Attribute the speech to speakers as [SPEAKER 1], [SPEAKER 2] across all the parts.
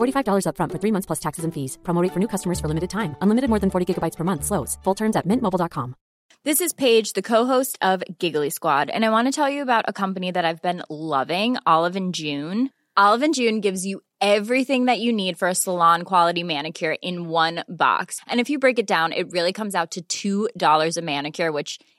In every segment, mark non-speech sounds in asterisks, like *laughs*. [SPEAKER 1] $45 upfront for three months plus taxes and fees. Promo rate for new customers for limited time. Unlimited more than 40 gigabytes per month. Slows. Full terms at mintmobile.com.
[SPEAKER 2] This is Paige, the co-host of Giggly Squad, and I want to tell you about a company that I've been loving, Olive and June. Olive and June gives you everything that you need for a salon quality manicure in one box. And if you break it down, it really comes out to $2 a manicure, which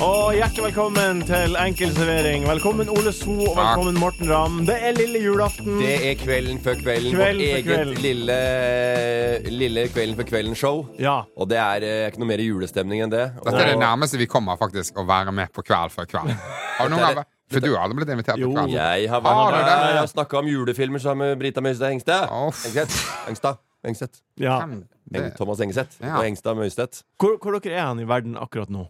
[SPEAKER 3] Og hjertelig velkommen til Enkeltservering. Velkommen Ole So og velkommen Morten Ramm. Det er lille julaften.
[SPEAKER 4] Det er Kvelden før kvelden.
[SPEAKER 3] Kvelden
[SPEAKER 4] vårt
[SPEAKER 3] før
[SPEAKER 4] eget
[SPEAKER 3] kvelden.
[SPEAKER 4] Lille, lille Kvelden før kvelden-show.
[SPEAKER 3] Ja.
[SPEAKER 4] Og det er eh, ikke noe mer julestemning enn det. Og
[SPEAKER 5] Dette er det nærmeste vi kommer faktisk å være med på Kveld før kveld. Har du noen
[SPEAKER 4] Dette er-
[SPEAKER 5] gang vært- For du har aldri blitt invitert
[SPEAKER 3] Jo.
[SPEAKER 5] på kveld?
[SPEAKER 4] jeg har
[SPEAKER 5] Har
[SPEAKER 4] vært
[SPEAKER 5] du
[SPEAKER 4] her
[SPEAKER 5] det?
[SPEAKER 4] og snakka om julefilmer sammen med Brita Møystad Engstad.
[SPEAKER 5] Uff.
[SPEAKER 4] Engstedt. Engstad. Engstedt.
[SPEAKER 3] ja.
[SPEAKER 5] Hvem-
[SPEAKER 4] Eng,
[SPEAKER 5] det-
[SPEAKER 4] Thomas Engseth
[SPEAKER 5] Ja.
[SPEAKER 4] og Engstad Møystedt.
[SPEAKER 3] Hvor, hvor dere er han i verden akkurat nå?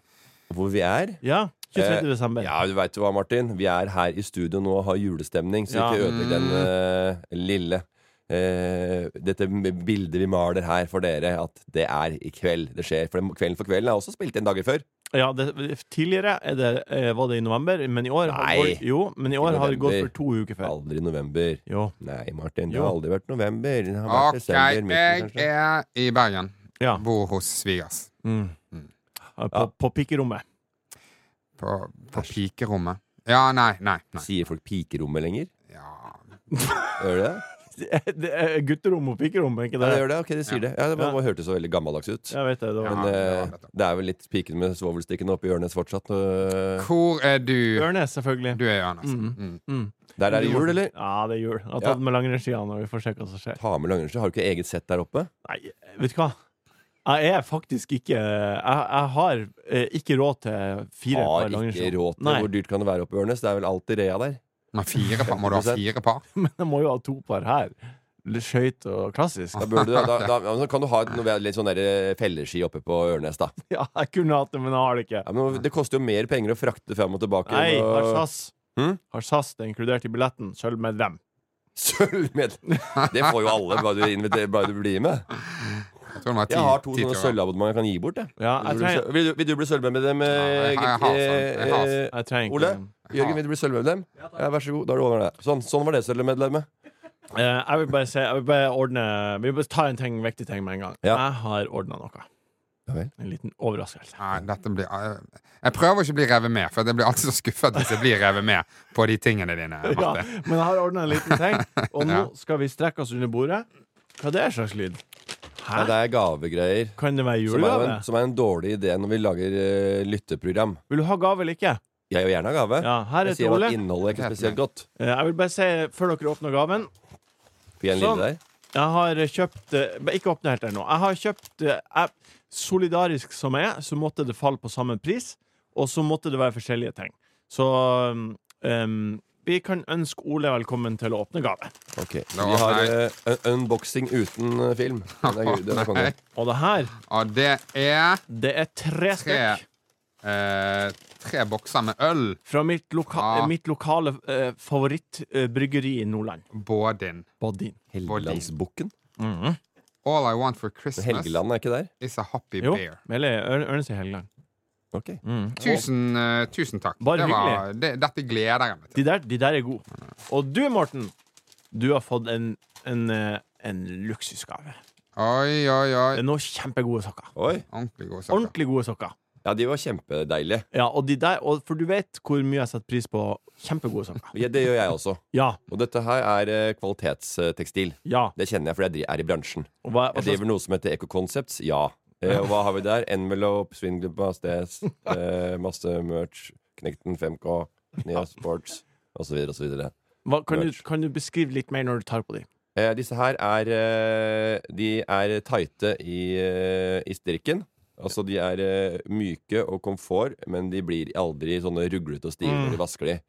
[SPEAKER 4] Hvor vi er?
[SPEAKER 3] Ja, 23.
[SPEAKER 4] Eh,
[SPEAKER 3] desember.
[SPEAKER 4] Ja, du vet jo hva, Martin. Vi er her i studio nå og har julestemning, så
[SPEAKER 3] Ja.
[SPEAKER 4] ikke ødelegg den eh, lille eh, dette m- bildet vi maler her for dere, at det er i kveld det skjer. For den- Kvelden for kvelden er også spilt inn dager før.
[SPEAKER 3] Ja, det, tidligere er det, eh, var det i november, men i år har,
[SPEAKER 4] Nei.
[SPEAKER 3] går, jo, men i år har det gått
[SPEAKER 4] november.
[SPEAKER 3] for to uker før.
[SPEAKER 4] Aldri november.
[SPEAKER 3] Jo.
[SPEAKER 4] Nei, Martin. Det
[SPEAKER 3] Jo.
[SPEAKER 4] har aldri vært november. Det har vært
[SPEAKER 5] Ok,
[SPEAKER 4] desember.
[SPEAKER 5] jeg
[SPEAKER 4] midten, kanskje.
[SPEAKER 5] er i Bergen.
[SPEAKER 3] Ja.
[SPEAKER 5] Bor hos svigers.
[SPEAKER 3] Mm. På,
[SPEAKER 4] Ja.
[SPEAKER 3] på pikkerommet. *laughs*
[SPEAKER 5] På, på pikerommet. Ja, nei, nei. nei.
[SPEAKER 4] Sier folk pikerommet lenger?
[SPEAKER 5] Ja.
[SPEAKER 4] Gjør de det?
[SPEAKER 3] Det er gutterom og pikkerom, er ikke
[SPEAKER 4] Ja,
[SPEAKER 3] det?
[SPEAKER 4] det gjør det. Ok, de sier det. Ja, Det bare,
[SPEAKER 3] Ja.
[SPEAKER 4] bare hørtes så veldig gammeldags ut.
[SPEAKER 3] Jeg vet det. det var.
[SPEAKER 4] Men
[SPEAKER 5] Ja, det
[SPEAKER 4] eh,
[SPEAKER 5] var det.
[SPEAKER 4] det er vel litt piken med svovelstikkene oppi hjørnet fortsatt. øh.
[SPEAKER 5] Hvor er du?
[SPEAKER 3] Ørnes, selvfølgelig.
[SPEAKER 5] Du er i Ørnes. Mm.
[SPEAKER 4] Der er det jul, eller?
[SPEAKER 3] Ja, det er jul. Jeg har
[SPEAKER 4] Ja.
[SPEAKER 3] tatt med langrennskia når vi får se hva som skjer.
[SPEAKER 4] Ta med langrennsski. Har du ikke eget sett der oppe?
[SPEAKER 3] Nei, vet du hva? Jeg er faktisk ikke Jeg, jeg har eh, ikke råd til fire
[SPEAKER 4] Har
[SPEAKER 3] par
[SPEAKER 4] ikke
[SPEAKER 3] langrennsski.
[SPEAKER 4] råd til
[SPEAKER 3] Nei,
[SPEAKER 4] Hvor dyrt kan det være oppe i Ørnes? Det er vel alltid Rea der.
[SPEAKER 5] Men fire par. Må du ha fire par?
[SPEAKER 3] men jeg må jo ha to par her. Litt Skøyt og klassisk.
[SPEAKER 4] Da, bør du, da, da, da ja, men kan du ha et- noe- litt sånn der felleski oppe på Ørnes, da.
[SPEAKER 3] *laughs* Ja, jeg kunne hatt det, men jeg har det ikke.
[SPEAKER 4] Ja, men det koster jo mer penger å frakte fram og tilbake.
[SPEAKER 3] Nei,
[SPEAKER 4] enn
[SPEAKER 3] har
[SPEAKER 4] å-
[SPEAKER 3] SAS.
[SPEAKER 4] Hm?
[SPEAKER 3] Har SAS det er inkludert i billetten? Sølv med dem.
[SPEAKER 4] Sølvmedlem. Det får jo alle, bare du, inviterer, bare du blir med.
[SPEAKER 5] Jeg tror det var ti.
[SPEAKER 4] Jeg har to
[SPEAKER 5] ti
[SPEAKER 4] sånne
[SPEAKER 5] tror jeg.
[SPEAKER 4] sølvabonnement jeg kan gi bort. Jeg.
[SPEAKER 3] Ja, jeg
[SPEAKER 4] vil, du bli,
[SPEAKER 3] trenger-
[SPEAKER 4] søl- vil, du, vil du bli sølvmedlem? eh,
[SPEAKER 5] jeg har- jeg har sånn. Jeg har
[SPEAKER 4] eh,
[SPEAKER 5] sånn.
[SPEAKER 3] Jeg trenger
[SPEAKER 4] Ole?
[SPEAKER 3] ikke dem.
[SPEAKER 4] Jørgen, vil du bli sølvmedlem? Ja, vær så god. Da er du over det. Sånn, sånn var det sølvmedlemmet.
[SPEAKER 3] Eh, Jeg vil bare si Jeg vil bare ordne Vi vil bare ta en ting, viktig ting med en gang.
[SPEAKER 4] Ja.
[SPEAKER 3] Jeg har ordna noe.
[SPEAKER 4] Ja vel.
[SPEAKER 3] En liten overraskelse.
[SPEAKER 5] Nei, dette blir eh, Jeg prøver å ikke å bli revet med, for jeg blir alltid så skuffet hvis jeg blir revet med på de tingene dine.
[SPEAKER 3] *laughs* Ja,
[SPEAKER 5] Marte.
[SPEAKER 3] men jeg har ordna en liten ting, og
[SPEAKER 4] *laughs*
[SPEAKER 3] nå
[SPEAKER 5] Ja.
[SPEAKER 3] skal vi strekke oss under bordet. Hva det er slags lyd?
[SPEAKER 4] Ja, det er gavegreier.
[SPEAKER 3] Kan det være
[SPEAKER 4] Som er, jo
[SPEAKER 3] julegave?
[SPEAKER 4] en, som er en dårlig idé når vi lager eh, lytteprogram.
[SPEAKER 3] Vil du ha gave eller ikke?
[SPEAKER 4] Jeg vil gjerne ha gave.
[SPEAKER 3] Ja, her
[SPEAKER 4] jeg
[SPEAKER 3] heter
[SPEAKER 4] sier bare
[SPEAKER 3] Ole.
[SPEAKER 4] at innholdet er ikke spesielt godt.
[SPEAKER 3] Eh, Jeg vil bare si, før dere åpner gaven
[SPEAKER 4] Fikk jeg en
[SPEAKER 3] Sånn.
[SPEAKER 4] lille der?
[SPEAKER 3] Jeg har kjøpt eh, bare Ikke åpne helt ennå. Jeg har kjøpt eh, jeg- Solidarisk som jeg er, så måtte det falle på samme pris, og så måtte det være forskjellige ting. Så um, um, vi kan ønske Ole velkommen til å åpne gave.
[SPEAKER 4] Ok.
[SPEAKER 5] Nå,
[SPEAKER 4] vi har
[SPEAKER 5] nei.
[SPEAKER 4] eh, un unboxing uten eh,
[SPEAKER 5] *laughs*
[SPEAKER 4] film. Den er, gud, den er konge.
[SPEAKER 5] Nei.
[SPEAKER 3] Og det her,
[SPEAKER 5] Og det er
[SPEAKER 3] det er tre
[SPEAKER 5] tre
[SPEAKER 3] stykk
[SPEAKER 5] eh, Tre bokser med øl.
[SPEAKER 3] fra mitt, loka
[SPEAKER 5] Ja.
[SPEAKER 3] mitt lokale eh, favorittbryggeri i Nordland.
[SPEAKER 5] Bådin.
[SPEAKER 3] Badin.
[SPEAKER 4] Helgelandsbukken.
[SPEAKER 5] All I want for Christmas
[SPEAKER 4] Helgeland er ikke der?
[SPEAKER 5] is a happy
[SPEAKER 3] Jo,
[SPEAKER 5] bear.
[SPEAKER 3] Melle Ør- Ørnes i Helgeland.
[SPEAKER 4] Ok.
[SPEAKER 5] Tusen, eh, tusen takk.
[SPEAKER 3] Bare
[SPEAKER 5] det var, det, dette gleder jeg meg
[SPEAKER 3] De
[SPEAKER 5] til.
[SPEAKER 3] der, de der er gode. Og du, Morten, du har fått en, en, eh, en luksusgave.
[SPEAKER 5] Oi, oi,
[SPEAKER 3] Det
[SPEAKER 5] oi.
[SPEAKER 3] er noen kjempegode sokker.
[SPEAKER 4] Oi.
[SPEAKER 5] Ordentlig Eh. gode saker.
[SPEAKER 3] Ordentlig gode sokker.
[SPEAKER 4] Ja, de var kjempedeilige.
[SPEAKER 3] Ja, og de der, og, for du vet hvor mye jeg setter pris på kjempegode sokker.
[SPEAKER 4] Ja, det gjør jeg også.
[SPEAKER 3] Ja,
[SPEAKER 4] Og dette her er eh, kvalitetstekstil.
[SPEAKER 3] ja.
[SPEAKER 4] Det kjenner jeg fordi jeg dri- er i bransjen.
[SPEAKER 3] Og hva, altså, hva
[SPEAKER 4] Jeg
[SPEAKER 3] slags,
[SPEAKER 4] driver noe som heter Eco Concepts. Ja. Eh, og hva har vi der? Envelope, Swinglub,
[SPEAKER 3] *laughs*
[SPEAKER 4] Astes, eh, masse merch, Knekten 5K, Nea Sports osv. osv.
[SPEAKER 3] hva, kan, du, kan du beskrive litt mer når du tar på de?
[SPEAKER 4] Eh, disse her er eh, De er tighte i, eh, i strikken. Altså De er eh, myke og komfort, men de blir aldri sånne ruglete og stive
[SPEAKER 3] Mm.
[SPEAKER 4] når de vasker de.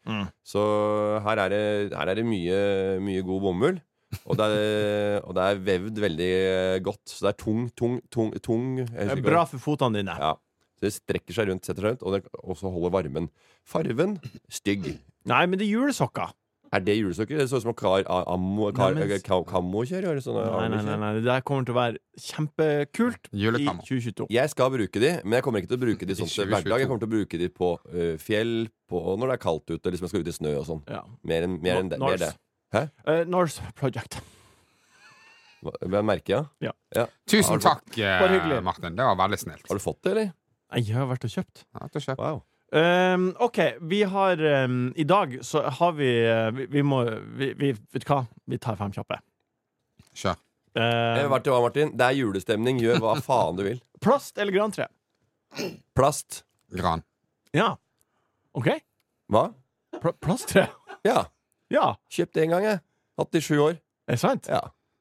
[SPEAKER 4] Så her er det, her er det mye, mye god bomull. Og det, er, og det er vevd veldig eh, godt. Så det er tung, tung, tung, tung jeg husker ikke
[SPEAKER 3] Bra for fotene dine.
[SPEAKER 4] ja. Så det strekker seg rundt, setter seg rundt, og, det, og så holder varmen. Farven stygg.
[SPEAKER 3] Nei, men det er julesokker.
[SPEAKER 4] Er det julesokker? Det så ut som kar, a- ammo, kar,
[SPEAKER 3] Nei, men-
[SPEAKER 4] ka- kamokjør. eller sånne
[SPEAKER 3] Nei, nei, nei,
[SPEAKER 4] armekjør.
[SPEAKER 3] nei. Det der kommer til å være kjempekult i
[SPEAKER 5] Julekammer.
[SPEAKER 3] 2022.
[SPEAKER 4] Jeg skal bruke de, men jeg kommer ikke til å bruke de sånn til
[SPEAKER 5] 2022.
[SPEAKER 4] hverdag. Jeg kommer til å bruke de på ø, fjell, på, når det er kaldt ute, liksom jeg skal ut i snø og sånn.
[SPEAKER 3] Ja.
[SPEAKER 4] Mer enn mer enn det. Mer
[SPEAKER 3] Norse.
[SPEAKER 4] det. Hæ?
[SPEAKER 3] Eh, Norse Project.
[SPEAKER 4] Hva hva merker jeg?
[SPEAKER 3] Ja.
[SPEAKER 4] Har
[SPEAKER 5] Tusen
[SPEAKER 4] du-
[SPEAKER 5] takk, eh,
[SPEAKER 3] Bare hyggelig.
[SPEAKER 5] Martin. Det var veldig snilt.
[SPEAKER 4] Har du fått det, eller?
[SPEAKER 3] Nei, Jeg har vært og kjøpt.
[SPEAKER 5] Ja, da kjøper jeg.
[SPEAKER 4] Wow.
[SPEAKER 3] Ehm, OK, vi har ehm, I dag så har vi eh, Vi, vi må vi, vi, Vet du hva? Vi tar fem kjappe.
[SPEAKER 5] Kjør.
[SPEAKER 3] Ehm,
[SPEAKER 4] Eh, Hva til hva, Martin? Det er julestemning. Gjør *laughs* hva faen du vil.
[SPEAKER 3] plast eller grantre?
[SPEAKER 4] Plast.
[SPEAKER 5] Gran.
[SPEAKER 3] Ja. OK?
[SPEAKER 4] Hva?
[SPEAKER 3] Pl plasttre?
[SPEAKER 4] Ja.
[SPEAKER 3] *laughs* Ja,
[SPEAKER 4] Kjøpt det en gang, jeg. Hatt det i sju år.
[SPEAKER 3] er det sant?
[SPEAKER 4] Ja.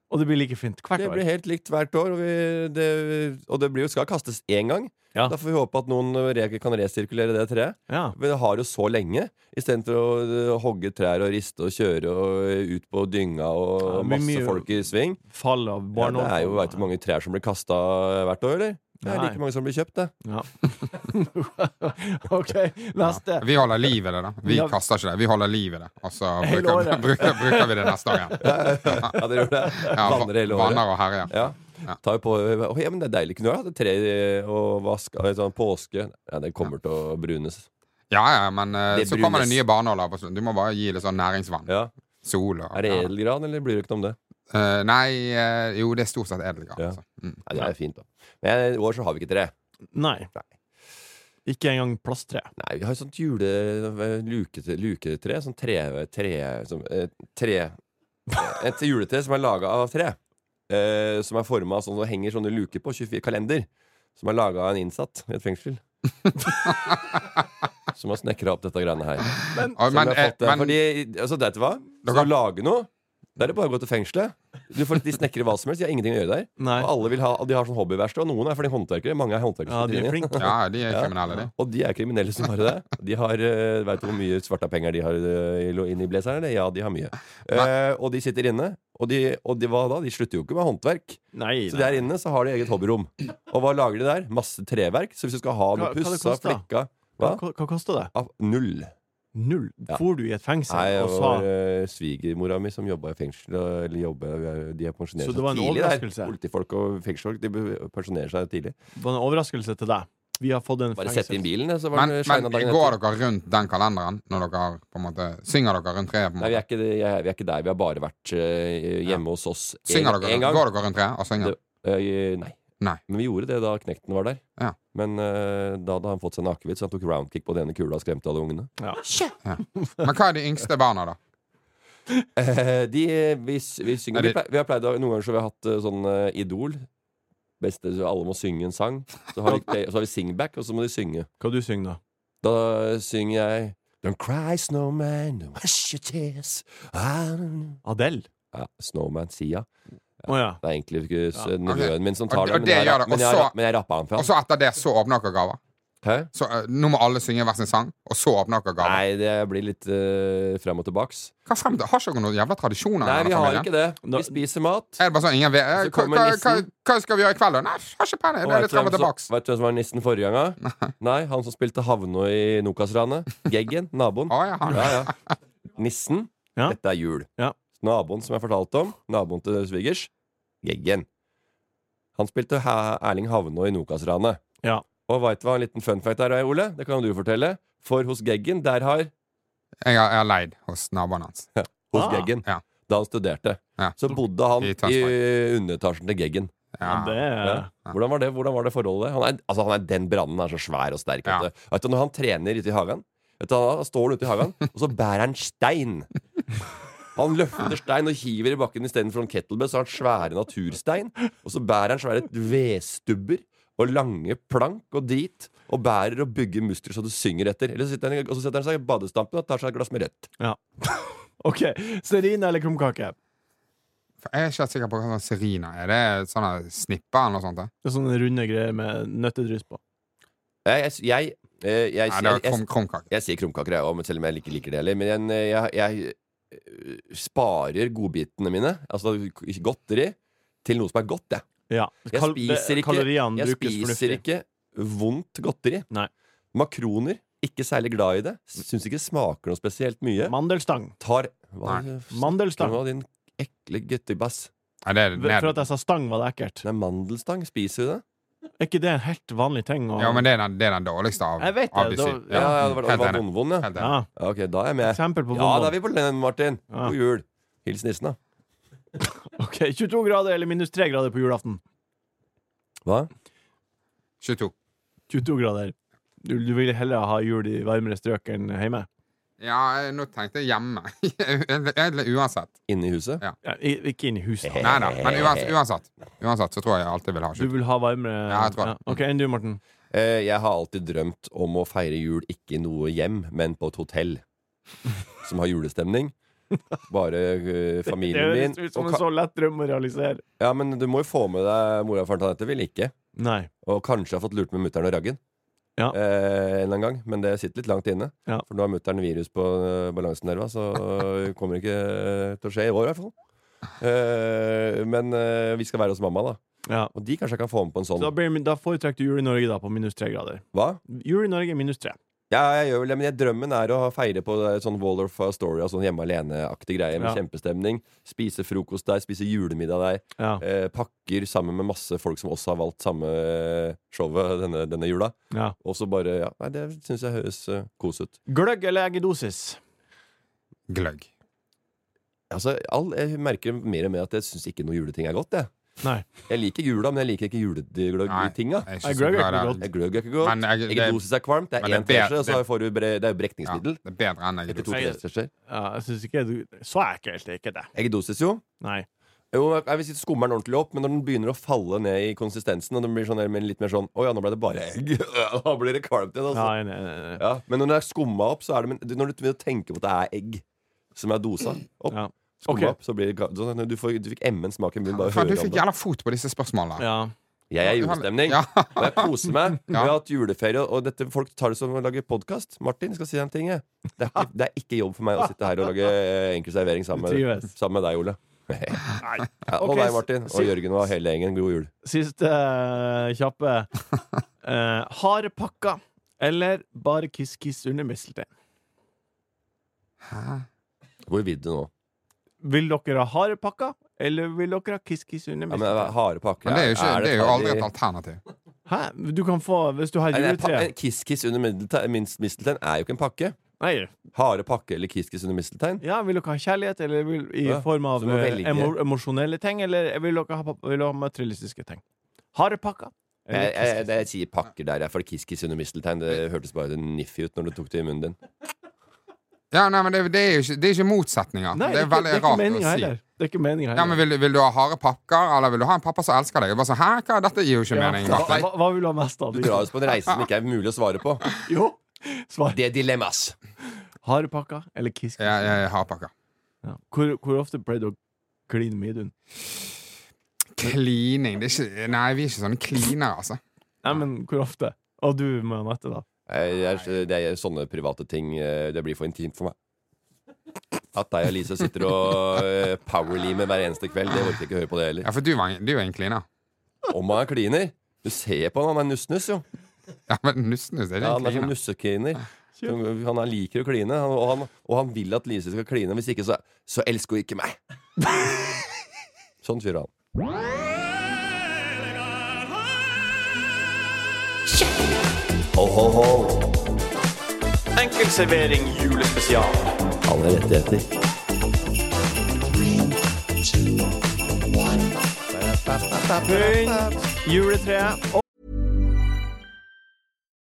[SPEAKER 3] Og det blir like fint hvert
[SPEAKER 4] Det
[SPEAKER 3] år.
[SPEAKER 4] blir helt likt hvert år, og, vi, det, og det blir jo skal kastes én gang.
[SPEAKER 3] Ja.
[SPEAKER 4] Da får vi håpe at noen re- kan resirkulere det treet.
[SPEAKER 3] Ja.
[SPEAKER 4] Vi har jo så lenge, istedenfor å eh, hogge trær og riste og kjøre og ut på dynga og
[SPEAKER 3] Ja, det blir
[SPEAKER 4] masse
[SPEAKER 3] mye-
[SPEAKER 4] folk i sving.
[SPEAKER 3] Fall av
[SPEAKER 4] Ja,
[SPEAKER 3] barn
[SPEAKER 4] det er jo veit du hvor mange trær som blir kasta hvert år, eller? Det er
[SPEAKER 3] Nei.
[SPEAKER 4] like mange som blir kjøpt, det.
[SPEAKER 3] Ja. *laughs* OK, neste.
[SPEAKER 5] Vi holder liv i det, da. Vi
[SPEAKER 3] Ja.
[SPEAKER 5] kaster ikke det. Vi holder liv i det, og så
[SPEAKER 3] Hele
[SPEAKER 5] bruker,
[SPEAKER 3] året.
[SPEAKER 5] bruker, bruker vi det neste år igjen.
[SPEAKER 4] *laughs* Ja, dere gjør det.
[SPEAKER 5] Ja,
[SPEAKER 4] Vanner hele året.
[SPEAKER 5] vanner og herjer.
[SPEAKER 4] Ja. Tar jo på Å, ja, men det er deilig. Kunne du hatt et tre og vaska sånn påske? Ja, det kommer til å brunes.
[SPEAKER 5] Ja, ja, men eh,
[SPEAKER 4] Det
[SPEAKER 5] så kommer det
[SPEAKER 4] brunes.
[SPEAKER 5] nye barnåler på slutten. Du må bare gi det sånn næringsvann.
[SPEAKER 4] Ja.
[SPEAKER 5] Sol og
[SPEAKER 4] Er det edelgran, eller blir det ikke noe om det?
[SPEAKER 5] Eh, Nei, eh, jo, det er stort sett edelgran.
[SPEAKER 4] Ja.
[SPEAKER 5] Altså. Mm.
[SPEAKER 4] Nei, det er fint, da. Men i år så har vi ikke tre.
[SPEAKER 3] Nei. Ikke engang plasttre.
[SPEAKER 4] Nei, vi har et sånt jule... Lukete, luketre. Sånn tre... tre, som, eh, tre eh, et juletre som er laga av tre. Eh, som er forma sånn som henger sånne luker på. 24 kalender. Som er laga av en innsatt i et
[SPEAKER 5] *laughs*
[SPEAKER 4] fengsel. som har snekra opp dette greiene her.
[SPEAKER 5] Oi,
[SPEAKER 4] Som
[SPEAKER 5] men,
[SPEAKER 4] vi har fått,
[SPEAKER 5] eh,
[SPEAKER 4] det.
[SPEAKER 5] men-
[SPEAKER 4] Fordi, altså, vet du hva? Skal du lage noe, da er det bare å gå til fengselet. Du får, de snekrer hva som helst. De har ingenting å gjøre der.
[SPEAKER 3] Nei.
[SPEAKER 4] Og alle vil ha, og de har sånn hobbyverksted. Og noen er fordi håndverkere. Mange er håndverkere.
[SPEAKER 3] Ja,
[SPEAKER 4] som
[SPEAKER 3] de er
[SPEAKER 4] sitter inne.
[SPEAKER 3] flinke.
[SPEAKER 5] Ja, de er
[SPEAKER 4] Ja.
[SPEAKER 5] kriminelle, de.
[SPEAKER 4] Og de er kriminelle som bare det. De har, uh, Veit du hvor mye svarta penger de har eh, i lo- inni blazeren? eller? Ja, de har mye. Eh, og de sitter inne. Og, de, og de, hva da? de slutter jo ikke med håndverk.
[SPEAKER 3] *laughs* Nei,
[SPEAKER 4] Så
[SPEAKER 3] nei.
[SPEAKER 4] der inne så har de eget hobbyrom. Og hva lager de der? Masse treverk. Så hvis du skal ha
[SPEAKER 3] Hva-
[SPEAKER 4] noe
[SPEAKER 3] hva det
[SPEAKER 4] pussa,
[SPEAKER 3] koster?
[SPEAKER 4] flekka
[SPEAKER 3] Hva,
[SPEAKER 4] Hva?
[SPEAKER 3] hva kosta det?
[SPEAKER 4] Ah, null.
[SPEAKER 3] Null?
[SPEAKER 4] Ja.
[SPEAKER 3] For du i et fengsel
[SPEAKER 4] Nei, det
[SPEAKER 3] og sa
[SPEAKER 4] var eh, svigermora mi som jobba i fengsel. og- Eller jobber, eh, de er pensjonert
[SPEAKER 3] Så det var en overraskelse?
[SPEAKER 4] Politifolk og fengselsfolk de be- pensjonerer seg tidlig.
[SPEAKER 3] var en overraskelse til deg? Vi har fått en
[SPEAKER 4] Bare sette inn bilen, så var
[SPEAKER 5] Men,
[SPEAKER 4] det shina
[SPEAKER 5] men
[SPEAKER 4] dagen
[SPEAKER 5] går
[SPEAKER 4] etter.
[SPEAKER 5] dere rundt den kalenderen når dere har, på en måte Synger dere rundt treet? på en
[SPEAKER 4] Nei, vi er, ikke,
[SPEAKER 5] måte?
[SPEAKER 4] jeg- vi er ikke der. Vi har bare vært eh, hjemme hos oss en,
[SPEAKER 5] Synger dere,
[SPEAKER 4] en gang.
[SPEAKER 5] Går dere rundt treet og synger?
[SPEAKER 4] Det- Eh, nei.
[SPEAKER 5] Nei.
[SPEAKER 4] Men vi gjorde det da knekten var der.
[SPEAKER 5] Ja.
[SPEAKER 4] Men eh, da hadde han fått seg en akevitt, så han tok roundkick på den ene kula og skremte alle ungene. *laughs*
[SPEAKER 5] Men hva er de yngste barna, da?
[SPEAKER 4] Eh, de, vi, s- vi synger
[SPEAKER 5] Er det-
[SPEAKER 4] vi, plei- vi har pleid å- Noen ganger så har vi hatt eh, sånn eh, Idol. Beste, så alle må synge en sang. Så har, vi, så har vi singback, og så må de synge.
[SPEAKER 3] Hva du synger da?
[SPEAKER 4] Da eh, synger jeg Don't cry, snowman, don't wash your tears Ah,
[SPEAKER 3] Adele?
[SPEAKER 4] ja, Snowman Sia.
[SPEAKER 3] Å ja.
[SPEAKER 4] Det er egentlig ikke s-
[SPEAKER 3] Ja.
[SPEAKER 4] nevøen min som tar
[SPEAKER 5] Og-
[SPEAKER 4] det,
[SPEAKER 5] og
[SPEAKER 4] men
[SPEAKER 5] det
[SPEAKER 4] jeg,
[SPEAKER 5] gjør
[SPEAKER 4] ra-
[SPEAKER 5] det.
[SPEAKER 4] men jeg,
[SPEAKER 5] Og
[SPEAKER 4] ra-
[SPEAKER 5] så-
[SPEAKER 4] men jeg rappa han fra.
[SPEAKER 5] Og så etter det så åpner dere gaver?
[SPEAKER 4] Hæ?
[SPEAKER 5] Så eh, nå må alle synge hver sin sang, og så åpner dere gaver?
[SPEAKER 4] Nei, det blir litt uh, frem og tilbaks.
[SPEAKER 5] Hva frem til? Har ikke dere noen jævla tradisjoner? i
[SPEAKER 4] Nei,
[SPEAKER 5] denne
[SPEAKER 4] vi har
[SPEAKER 5] familien?
[SPEAKER 4] ikke det.
[SPEAKER 3] Nå-
[SPEAKER 4] Vi spiser mat.
[SPEAKER 5] Er det bare sånn ingen vet eh,
[SPEAKER 4] Så
[SPEAKER 5] hva,
[SPEAKER 4] kommer
[SPEAKER 5] hva, hva,
[SPEAKER 4] nissen.
[SPEAKER 5] hva skal vi gjøre i kveld, da? Nei, har ikke peiling. Det
[SPEAKER 4] Og
[SPEAKER 5] er
[SPEAKER 4] vet
[SPEAKER 5] litt
[SPEAKER 4] du
[SPEAKER 5] frem
[SPEAKER 4] hvem
[SPEAKER 5] og tilbake.
[SPEAKER 4] som- vet du hvem som var nissen forrige gang? da? Nei, han som spilte Havnå i Nokas-ranet. Geggen, naboen.
[SPEAKER 5] Å, ja, han-
[SPEAKER 4] Ja, ja. Nissen.
[SPEAKER 3] Ja.
[SPEAKER 4] Dette er jul.
[SPEAKER 3] Ja.
[SPEAKER 4] Naboen som jeg fortalte om, naboen til svigers, Geggen. Han spilte ha Erling Havnå i Nokas-ranet.
[SPEAKER 3] Ja.
[SPEAKER 4] Og veit du hva en liten fun fact er, Ole? Det kan jo du fortelle. For hos Geggen, der har
[SPEAKER 5] Jeg har, jeg har leid hos naboen
[SPEAKER 4] *laughs*
[SPEAKER 5] hans.
[SPEAKER 4] Hos
[SPEAKER 3] Ah.
[SPEAKER 4] Geggen,
[SPEAKER 5] Ja.
[SPEAKER 4] da han studerte,
[SPEAKER 5] Ja.
[SPEAKER 4] så bodde han
[SPEAKER 5] I
[SPEAKER 4] i,
[SPEAKER 5] Tønsberg.
[SPEAKER 4] underetasjen til Geggen.
[SPEAKER 5] Ja.
[SPEAKER 3] Det
[SPEAKER 4] Ja.
[SPEAKER 3] er
[SPEAKER 4] Hvordan, var det? Hvordan var det forholdet? Han er, altså, han er den brannen han er så svær og sterk.
[SPEAKER 5] Ja.
[SPEAKER 4] Vet du. Vet du, når han trener ute i hagen, vet du, da står han ute i
[SPEAKER 5] *laughs*
[SPEAKER 4] hagen, og så bærer han stein. Han løfter stein og hiver i bakken istedenfor en kettlebell. Så har han svære naturstein, og så bærer han svære vedstubber og lange plank og drit. Og bærer og bygger muskler så du synger etter. Eller så sitter han, og så setter han seg i badestampen og tar seg et glass med rødt.
[SPEAKER 3] OK. Serine eller krumkake?
[SPEAKER 5] For Jeg er ikke helt sikker på hva sånn serina er. Det er sånne snipper eller noe sånt? da?
[SPEAKER 3] Det er Sånne runde greier med nøttedryss på.
[SPEAKER 4] Jeg, jeg, jeg, jeg, jeg,
[SPEAKER 5] Nei, det
[SPEAKER 4] jeg,
[SPEAKER 5] er krum, krumkake.
[SPEAKER 4] Jeg sier krumkaker, jeg òg, men selv om jeg ikke liker det heller. Men jeg, jeg, jeg øh, sparer godbitene mine, altså k- godteri, til noe som er godt, jeg.
[SPEAKER 3] Ja.
[SPEAKER 4] Jeg
[SPEAKER 3] Kal-
[SPEAKER 4] spiser
[SPEAKER 3] det-
[SPEAKER 4] ikke-
[SPEAKER 3] Kaloriene
[SPEAKER 4] Jeg
[SPEAKER 3] brukes
[SPEAKER 4] spiser
[SPEAKER 3] fornuftig.
[SPEAKER 4] ikke vondt godteri.
[SPEAKER 3] Nei.
[SPEAKER 4] Makroner, ikke særlig glad i det. Syns ikke det smaker noe spesielt mye.
[SPEAKER 3] Mandelstang.
[SPEAKER 4] Tar Hva er det du snakker
[SPEAKER 3] Mandelstang.
[SPEAKER 4] om, din ekle guttebass?
[SPEAKER 5] Nei, det er
[SPEAKER 3] V- For
[SPEAKER 5] ned.
[SPEAKER 3] at jeg sa stang, var det ekkelt.
[SPEAKER 4] Nei, mandelstang. Spiser du det?
[SPEAKER 3] Er ikke det en helt vanlig ting? å-
[SPEAKER 5] Ja, men det er den, det er den dårligste av,
[SPEAKER 3] Jeg vet det,
[SPEAKER 5] av de
[SPEAKER 3] da-
[SPEAKER 5] syv.
[SPEAKER 4] Ja, ja det var, det
[SPEAKER 5] Helt
[SPEAKER 4] var
[SPEAKER 5] enig.
[SPEAKER 4] vond-vond, ja.
[SPEAKER 5] Helt enig.
[SPEAKER 3] ja.
[SPEAKER 4] Ja, Ok, da er jeg med.
[SPEAKER 3] Eksempel på
[SPEAKER 4] Ja, da er
[SPEAKER 3] bonbon.
[SPEAKER 4] vi på den, Martin.
[SPEAKER 3] Ja.
[SPEAKER 4] God jul. Hils nissen, da.
[SPEAKER 3] Ok, 22 grader eller minus 3 grader på julaften?
[SPEAKER 4] Hva?
[SPEAKER 5] 22.
[SPEAKER 3] 22 grader. Du, du vil heller ha jul i varmere strøk enn hjemme?
[SPEAKER 5] Ja, jeg- nå tenkte jeg hjemme. *laughs* Egentlig uansett.
[SPEAKER 4] Inne i huset?
[SPEAKER 3] Ja, i- ikke inn i huset.
[SPEAKER 5] Nei da, men uansett, uansett, uansett så tror jeg jeg alltid vil ha
[SPEAKER 3] Du
[SPEAKER 5] 22.
[SPEAKER 3] vil ha varmere
[SPEAKER 5] Ja, jeg tror det.
[SPEAKER 3] Ok, enn du, Morten.
[SPEAKER 4] Eh, Jeg har alltid drømt om å feire jul ikke i noe hjem, men på et hotell som har julestemning. Bare eh,
[SPEAKER 3] Det
[SPEAKER 4] familien
[SPEAKER 3] høres
[SPEAKER 4] min.
[SPEAKER 3] ut som
[SPEAKER 4] og
[SPEAKER 3] en sånn-
[SPEAKER 4] ka-
[SPEAKER 3] så lett drøm å realisere.
[SPEAKER 4] ja, men du må jo få med deg mora og faren til dette. Vil ikke.
[SPEAKER 3] Nei.
[SPEAKER 4] Og kanskje har fått lurt med mutter'n og raggen.
[SPEAKER 3] Ja.
[SPEAKER 4] Eh, en eller annen gang, men det sitter litt langt inne.
[SPEAKER 3] Ja.
[SPEAKER 4] For nå har mutter'n virus på eh, balansenerva, så det kommer ikke eh, til å skje i år i hvert fall. Eh, men eh, vi skal være hos mamma, da.
[SPEAKER 3] Ja.
[SPEAKER 4] Og de kanskje jeg kan få med på en
[SPEAKER 3] Så
[SPEAKER 4] sånn.
[SPEAKER 3] da, blir, da foretrekker du jul i Norge da på minus 3 grader.
[SPEAKER 4] Hva?
[SPEAKER 3] Jul i Norge minus 3.
[SPEAKER 4] Ja, jeg gjør vel det, men jeg, drømmen er å ha- feire på det, sånn Wall of Story og sånn hjemme alene-aktig greie med
[SPEAKER 3] Ja.
[SPEAKER 4] kjempestemning. Spise frokost der, spise julemiddag der.
[SPEAKER 3] Ja.
[SPEAKER 4] Eh, pakker sammen med masse folk som også har valgt samme eh, showet *laughs* denne, denne jula.
[SPEAKER 3] ja.
[SPEAKER 4] Og så bare Ja, nei, det syns jeg høres eh, kos ut.
[SPEAKER 3] Gløgg eller eggedosis?
[SPEAKER 5] Gløgg.
[SPEAKER 4] Altså, all, jeg merker mer og mer at jeg syns ikke noe juleting er godt, jeg.
[SPEAKER 3] Nei.
[SPEAKER 4] Jeg liker jula, men jeg liker ikke
[SPEAKER 5] Nei,
[SPEAKER 4] julegløgg-tinga.
[SPEAKER 5] jeg er
[SPEAKER 3] Nei,
[SPEAKER 5] ikke så
[SPEAKER 3] gløgg er ikke
[SPEAKER 5] glad i det.
[SPEAKER 3] godt.
[SPEAKER 4] Jeg gløgg er ikke godt.
[SPEAKER 5] Men jeg- det-
[SPEAKER 4] Eggedosis er kvalmt. Det
[SPEAKER 5] men
[SPEAKER 4] er
[SPEAKER 5] det
[SPEAKER 4] én
[SPEAKER 5] er bedre-
[SPEAKER 4] teskje, og så
[SPEAKER 5] det-
[SPEAKER 4] får du bre, Det er jo
[SPEAKER 5] Ja,
[SPEAKER 4] brekningsmiddel.
[SPEAKER 5] det er bedre enn
[SPEAKER 4] Etter to-tre
[SPEAKER 5] eggedosis.
[SPEAKER 4] teskjeer.
[SPEAKER 3] Ja, jeg synes ikke du Så ekkelt er ikke det.
[SPEAKER 4] Eggedosis, jo.
[SPEAKER 3] Nei.
[SPEAKER 4] Jo, jeg vil si skummer den ordentlig opp, men når den begynner å falle ned i konsistensen, og den blir sånn der, men litt mer sånn Å ja, nå ble det bare egg. *laughs* da blir det kvalmt igjen,
[SPEAKER 3] Ja,
[SPEAKER 4] altså.
[SPEAKER 3] nei, nei, nei.
[SPEAKER 4] Ja, men når den er skumma opp, så er det men, du- Når du begynner å tenke på at det er egg som er dosa opp,
[SPEAKER 3] Ja.
[SPEAKER 4] skumma
[SPEAKER 3] Ok.
[SPEAKER 4] opp, så blir det ga- sånn, du, får, du fikk emmen smak i munnen bare av å
[SPEAKER 5] Faen,
[SPEAKER 4] høre
[SPEAKER 5] du
[SPEAKER 4] om
[SPEAKER 5] fikk
[SPEAKER 4] det.
[SPEAKER 5] jævla fot på disse spørsmålene.
[SPEAKER 3] Ja.
[SPEAKER 4] Jeg er i julestemning,
[SPEAKER 5] Ja.
[SPEAKER 4] og jeg koser
[SPEAKER 3] *laughs*
[SPEAKER 4] meg. Vi
[SPEAKER 5] Ja.
[SPEAKER 4] har hatt juleferie, og dette, folk tar det som å lage podkast. Martin, jeg skal si deg en ting, jeg. Det er, ikke, det er ikke jobb for meg å sitte her og lage eh, enkel servering sammen,
[SPEAKER 3] Du
[SPEAKER 4] med-
[SPEAKER 3] trives.
[SPEAKER 4] sammen med deg, Ole.
[SPEAKER 3] Nei.
[SPEAKER 4] *laughs* Ja, og
[SPEAKER 3] Ok,
[SPEAKER 4] deg,
[SPEAKER 3] s-
[SPEAKER 4] Martin. Og
[SPEAKER 3] si-
[SPEAKER 4] Jørgen og hele gjengen. God jul.
[SPEAKER 3] Siste eh, kjappe.
[SPEAKER 4] *laughs*
[SPEAKER 3] Uh, Hardpakka eller bare kiss-kiss under misteltein?
[SPEAKER 5] Hæ?
[SPEAKER 4] Hvor vil du nå?
[SPEAKER 3] Vil dere ha hardpakka, eller vil dere ha kiss-kiss under
[SPEAKER 4] Ja, men
[SPEAKER 3] misteltein?
[SPEAKER 4] Harde pakker
[SPEAKER 5] Men det er jo, ikke, det er jo
[SPEAKER 4] ferdig-
[SPEAKER 5] aldri et alternativ.
[SPEAKER 3] Hæ? Du kan få, hvis du har
[SPEAKER 4] Nei, nei, pa- eh,
[SPEAKER 3] juletre
[SPEAKER 4] Kiss Kiss under middeltegn- minst- misteltein er jo ikke en pakke.
[SPEAKER 3] Nei.
[SPEAKER 4] Harde pakke eller Kiss Kiss under misteltein?
[SPEAKER 3] Ja, vil dere ha kjærlighet, eller vil, i
[SPEAKER 4] Ja,
[SPEAKER 3] form av
[SPEAKER 4] så må
[SPEAKER 3] eh,
[SPEAKER 4] velge.
[SPEAKER 3] emo emosjonelle ting, eller vil dere ha, vil dere ha materialistiske ting? Hardpakka?
[SPEAKER 4] Jeg,
[SPEAKER 3] eller
[SPEAKER 4] jeg, jeg,
[SPEAKER 3] kiss-kiss?
[SPEAKER 4] jeg sier pakker der, jeg, for Kiss Kiss under misteltein Det hørtes bare niffig ut når du tok det i munnen
[SPEAKER 5] *laughs*
[SPEAKER 4] din.
[SPEAKER 5] Ja, nei, men det, det, er jo ikke, det er ikke motsetninger.
[SPEAKER 3] Nei,
[SPEAKER 5] det er veldig
[SPEAKER 3] ikke
[SPEAKER 5] rart
[SPEAKER 3] meningen
[SPEAKER 5] å si.
[SPEAKER 3] heller. Det er ikke meninga
[SPEAKER 5] Ja, men vil, vil du ha harde pakker, eller vil du ha en pappa som elsker deg? Og Bare sånn, Hæ, hva? Dette gir jo ikke mening.
[SPEAKER 3] hva,
[SPEAKER 5] Martin.
[SPEAKER 3] hva- hva vil du ha mest av? Liksom?
[SPEAKER 4] Du drar oss på en reise som ikke er mulig å svare på.
[SPEAKER 3] Jo, svar.
[SPEAKER 4] Det er dilemmas.
[SPEAKER 3] Hardpakka eller kiss-kiss?
[SPEAKER 5] Ja, jeg har pakker.
[SPEAKER 3] Ja. Hvor, hvor ofte pleide du å kline med Idun?
[SPEAKER 5] Klining det er ikke, Nei, vi er ikke sånne klinere, altså.
[SPEAKER 3] Nei, men hvor ofte? Og du med Anette, da?
[SPEAKER 4] Jeg, jeg, det er sånne private ting eh, Det blir for intimt for meg. At deg og Lise sitter og eh, powerlimer hver eneste kveld, det orker jeg ikke høre på det heller.
[SPEAKER 5] Ja, For du, var en- du er en kliner.
[SPEAKER 4] Om han er kliner? Du ser på han, han er nussnuss, jo.
[SPEAKER 5] Ja, men Nussnes
[SPEAKER 4] Ja,
[SPEAKER 5] er ikke en
[SPEAKER 4] han er sånn
[SPEAKER 5] kliner.
[SPEAKER 4] nussekliner. Som- Han er- liker å kline, han, og, han, og han vil at Lise skal kline. Hvis ikke, så, så
[SPEAKER 3] *laughs*
[SPEAKER 4] elsker hun ikke meg. sånn sier han.
[SPEAKER 3] Enkel servering julespesial.
[SPEAKER 4] Alle rettigheter.
[SPEAKER 3] Pynt, juletreet og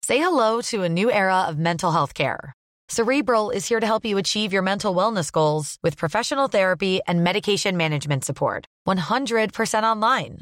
[SPEAKER 6] Say hello to a new era of mental health care. Cerebral is here to help you achieve your mental wellness goals with professional therapy and medication management support. 100% online.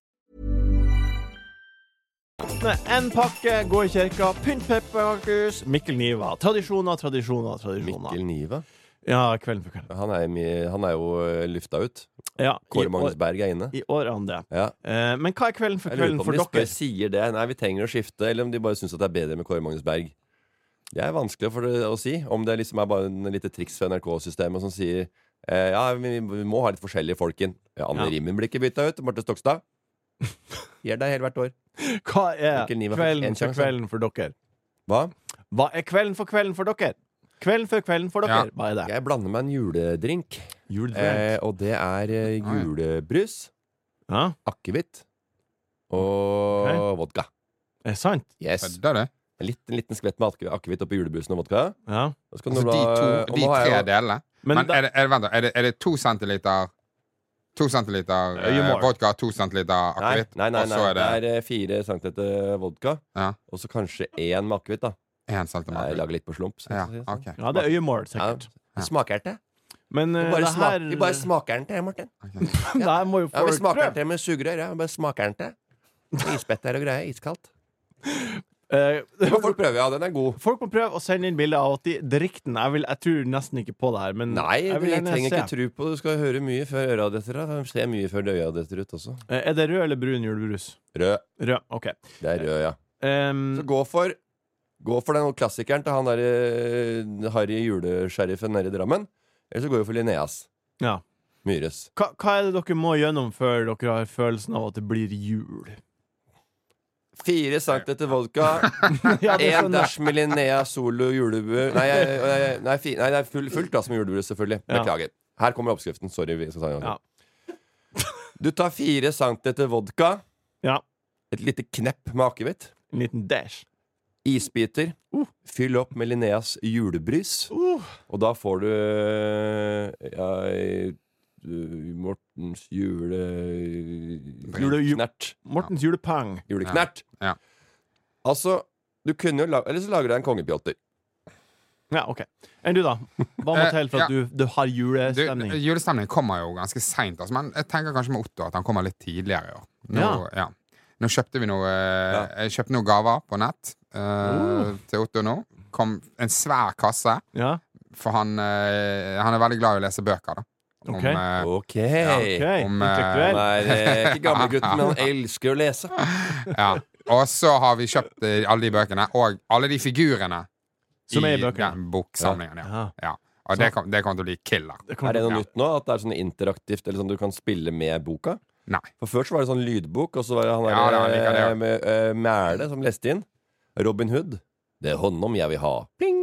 [SPEAKER 3] åpne en pakke, gå i kirka, pynt pepperkaker. Mikkel Niva. Tradisjoner, tradisjoner, tradisjoner.
[SPEAKER 4] Mikkel Niva.
[SPEAKER 3] Ja, Kvelden for kvelden.
[SPEAKER 4] Han er, mi- han er jo eh, lufta ut.
[SPEAKER 3] Ja, i,
[SPEAKER 4] Kåre Magnus
[SPEAKER 3] år,
[SPEAKER 4] Berg er inne.
[SPEAKER 3] I år er han det.
[SPEAKER 4] Ja.
[SPEAKER 3] Eh, men hva er Kvelden for
[SPEAKER 4] Jeg lurer
[SPEAKER 3] kvelden
[SPEAKER 4] på
[SPEAKER 3] for
[SPEAKER 4] om de
[SPEAKER 3] dere?
[SPEAKER 4] spør, sier det. Nei, vi trenger å skifte. Eller om de bare syns det er bedre med Kåre Magnus Berg. Det er vanskelig for det å si. Om det liksom er bare en lite triks fra NRK-systemet som sier eh, ja, vi, vi må ha litt forskjellige folk inn. Ja, Anne
[SPEAKER 3] Ja.
[SPEAKER 4] Rimmen blir ikke bytta ut. Marte
[SPEAKER 3] *laughs*
[SPEAKER 4] Stokstad. Gjør det helt hvert år.
[SPEAKER 3] *laughs* Hva er
[SPEAKER 4] Mikkel Niva fikk en
[SPEAKER 3] Kvelden for
[SPEAKER 4] sjanse.
[SPEAKER 3] kvelden for dere?
[SPEAKER 4] Hva?
[SPEAKER 3] Hva er Kvelden for kvelden for dere? Kvelden for kvelden for dere.
[SPEAKER 5] Ja.
[SPEAKER 3] Hva er det?
[SPEAKER 4] Jeg blander meg en juledrink.
[SPEAKER 3] Julebrent.
[SPEAKER 4] Eh, og det er eh,
[SPEAKER 5] Ah, ja.
[SPEAKER 4] julebrus,
[SPEAKER 3] Ja,
[SPEAKER 4] akevitt og
[SPEAKER 3] Ok.
[SPEAKER 4] vodka.
[SPEAKER 3] er det sant?
[SPEAKER 4] Yes.
[SPEAKER 5] Kødder du?
[SPEAKER 4] En liten, liten skvett med ake- akevitt oppi julebrusen og vodka.
[SPEAKER 3] Ja.
[SPEAKER 4] Da skal
[SPEAKER 5] Altså
[SPEAKER 4] du
[SPEAKER 5] de
[SPEAKER 4] bla-
[SPEAKER 5] to,
[SPEAKER 4] og
[SPEAKER 5] de
[SPEAKER 4] nå har jeg
[SPEAKER 5] tre
[SPEAKER 4] jo-
[SPEAKER 5] delene?
[SPEAKER 3] Men,
[SPEAKER 5] Men
[SPEAKER 3] da,
[SPEAKER 5] er det, er det, vent da, er det, er det to centiliter To centiliter
[SPEAKER 3] Ja, you
[SPEAKER 5] eh,
[SPEAKER 3] more.
[SPEAKER 5] vodka, to centiliter
[SPEAKER 4] Nei,
[SPEAKER 5] akevitt,
[SPEAKER 4] nei, nei,
[SPEAKER 5] og så
[SPEAKER 4] nei.
[SPEAKER 5] er
[SPEAKER 4] det
[SPEAKER 5] det
[SPEAKER 4] er eh, fire centiliter vodka,
[SPEAKER 5] Ja.
[SPEAKER 4] og så kanskje én med akevitt. da.
[SPEAKER 5] én centiliter
[SPEAKER 4] Nei, Jeg
[SPEAKER 5] akevitt?
[SPEAKER 4] lager litt på slump.
[SPEAKER 5] Ja,
[SPEAKER 4] sånn.
[SPEAKER 5] ok.
[SPEAKER 3] ja, det er øyemål, sikkert.
[SPEAKER 4] Vi smaker den til.
[SPEAKER 3] Men
[SPEAKER 4] Vi
[SPEAKER 3] eh,
[SPEAKER 4] bare,
[SPEAKER 3] det
[SPEAKER 4] sma-
[SPEAKER 3] her
[SPEAKER 4] vi bare
[SPEAKER 3] *laughs*
[SPEAKER 4] smaker den til, Martin.
[SPEAKER 3] Det her må jo
[SPEAKER 4] Ja, vi
[SPEAKER 3] folk
[SPEAKER 4] smaker den
[SPEAKER 3] prøve.
[SPEAKER 4] til med sugerør. Ja. Vi bare smaker den
[SPEAKER 5] *laughs*
[SPEAKER 4] til. Isbetter og greier. Iskaldt.
[SPEAKER 3] Eh, *laughs*
[SPEAKER 4] Det må folk prøve, ja. Den er god.
[SPEAKER 3] Folk må prøve å sende inn bilder av at de drikker den. Jeg, vil, jeg tror nesten ikke på det her, men
[SPEAKER 4] Nei,
[SPEAKER 3] Mm. jeg
[SPEAKER 4] vi
[SPEAKER 3] vil gjerne
[SPEAKER 4] trenger
[SPEAKER 3] se.
[SPEAKER 4] ikke tro på det. Du skal høre mye før øra detter av. Du ser mye før øya detter ut også.
[SPEAKER 3] Eh, Er det rød eller brun julebrus?
[SPEAKER 4] Rød.
[SPEAKER 3] Rød. OK. Ehm,
[SPEAKER 4] Det er rød, ja.
[SPEAKER 3] Em,
[SPEAKER 4] Så gå for Gå for den klassikeren til han der eh, Harry julesheriffen nede i Drammen. Eller så går vi for Linneas
[SPEAKER 3] ja.
[SPEAKER 4] Myhres.
[SPEAKER 3] hva, hva er det dere må gjennom før dere har følelsen av at det blir jul? *laughs*
[SPEAKER 4] Fire centiliter vodka,
[SPEAKER 3] Ja, *laughs* det
[SPEAKER 4] én
[SPEAKER 3] skjønner jeg.
[SPEAKER 4] dash med Linnea Solo julebrus Nei, jeg- nei, nei, fi- nei, det er full, fullt glass med julebrus, selvfølgelig.
[SPEAKER 3] Ja.
[SPEAKER 4] Beklager. Her kommer oppskriften. Sorry. Vi skal ta en gang.
[SPEAKER 3] Ja.
[SPEAKER 4] Du tar fire centiliter vodka,
[SPEAKER 3] ja.
[SPEAKER 4] et lite knepp med akevitt,
[SPEAKER 3] En liten dash.
[SPEAKER 4] isbiter, fyll opp med Linneas julebrus, og da får du ja, du- Mortens jule...
[SPEAKER 3] Jule- ju-
[SPEAKER 4] Knert.
[SPEAKER 3] Mortens julepang.
[SPEAKER 4] Juleknert.
[SPEAKER 5] Ja.
[SPEAKER 4] Altså, du kunne jo la- Eller så lager du deg en kongepjotter.
[SPEAKER 3] Ja, OK. Enn du, da? Hva må
[SPEAKER 5] Eh,
[SPEAKER 3] til for at du, du har
[SPEAKER 5] Du,
[SPEAKER 3] julestemning?
[SPEAKER 5] julestemningen kommer jo ganske seint, altså, men jeg tenker kanskje med Otto at han kommer litt tidligere i år. Nå, ja. nå kjøpte vi noe eh, Jeg kjøpte noen gaver på nett eh,
[SPEAKER 3] Uh.
[SPEAKER 5] til Otto nå. Kom en svær kasse,
[SPEAKER 3] Ja?
[SPEAKER 5] for han, eh, han er veldig glad i å lese bøker, da. Om,
[SPEAKER 3] Ok.
[SPEAKER 5] eh,
[SPEAKER 4] Ok.
[SPEAKER 3] OK.
[SPEAKER 5] Om, eh,
[SPEAKER 4] Han
[SPEAKER 3] Intellektuell.
[SPEAKER 4] er eh, ikke gamlegutten, men han elsker å lese.
[SPEAKER 5] ja. Og så har vi kjøpt eh, alle de bøkene, og alle de figurene
[SPEAKER 3] Som er i
[SPEAKER 5] den
[SPEAKER 3] bøkene.
[SPEAKER 5] boksamlingen. Ja.
[SPEAKER 3] Ja.
[SPEAKER 5] Ja. Og det kom- det kommer til å bli killer.
[SPEAKER 4] Er
[SPEAKER 3] Det kommer
[SPEAKER 4] det
[SPEAKER 3] til-
[SPEAKER 4] noe nytt nå? At det er sånn interaktivt, eller sånn du kan spille med boka?
[SPEAKER 5] Nei.
[SPEAKER 4] For før så var det sånn lydbok, og så var det han
[SPEAKER 5] Ja, det
[SPEAKER 4] der
[SPEAKER 5] var like
[SPEAKER 4] eh,
[SPEAKER 5] det.
[SPEAKER 4] med, eh, Mæle som leste inn. Robin Hood. Det er håndom jeg vil ha. Pling!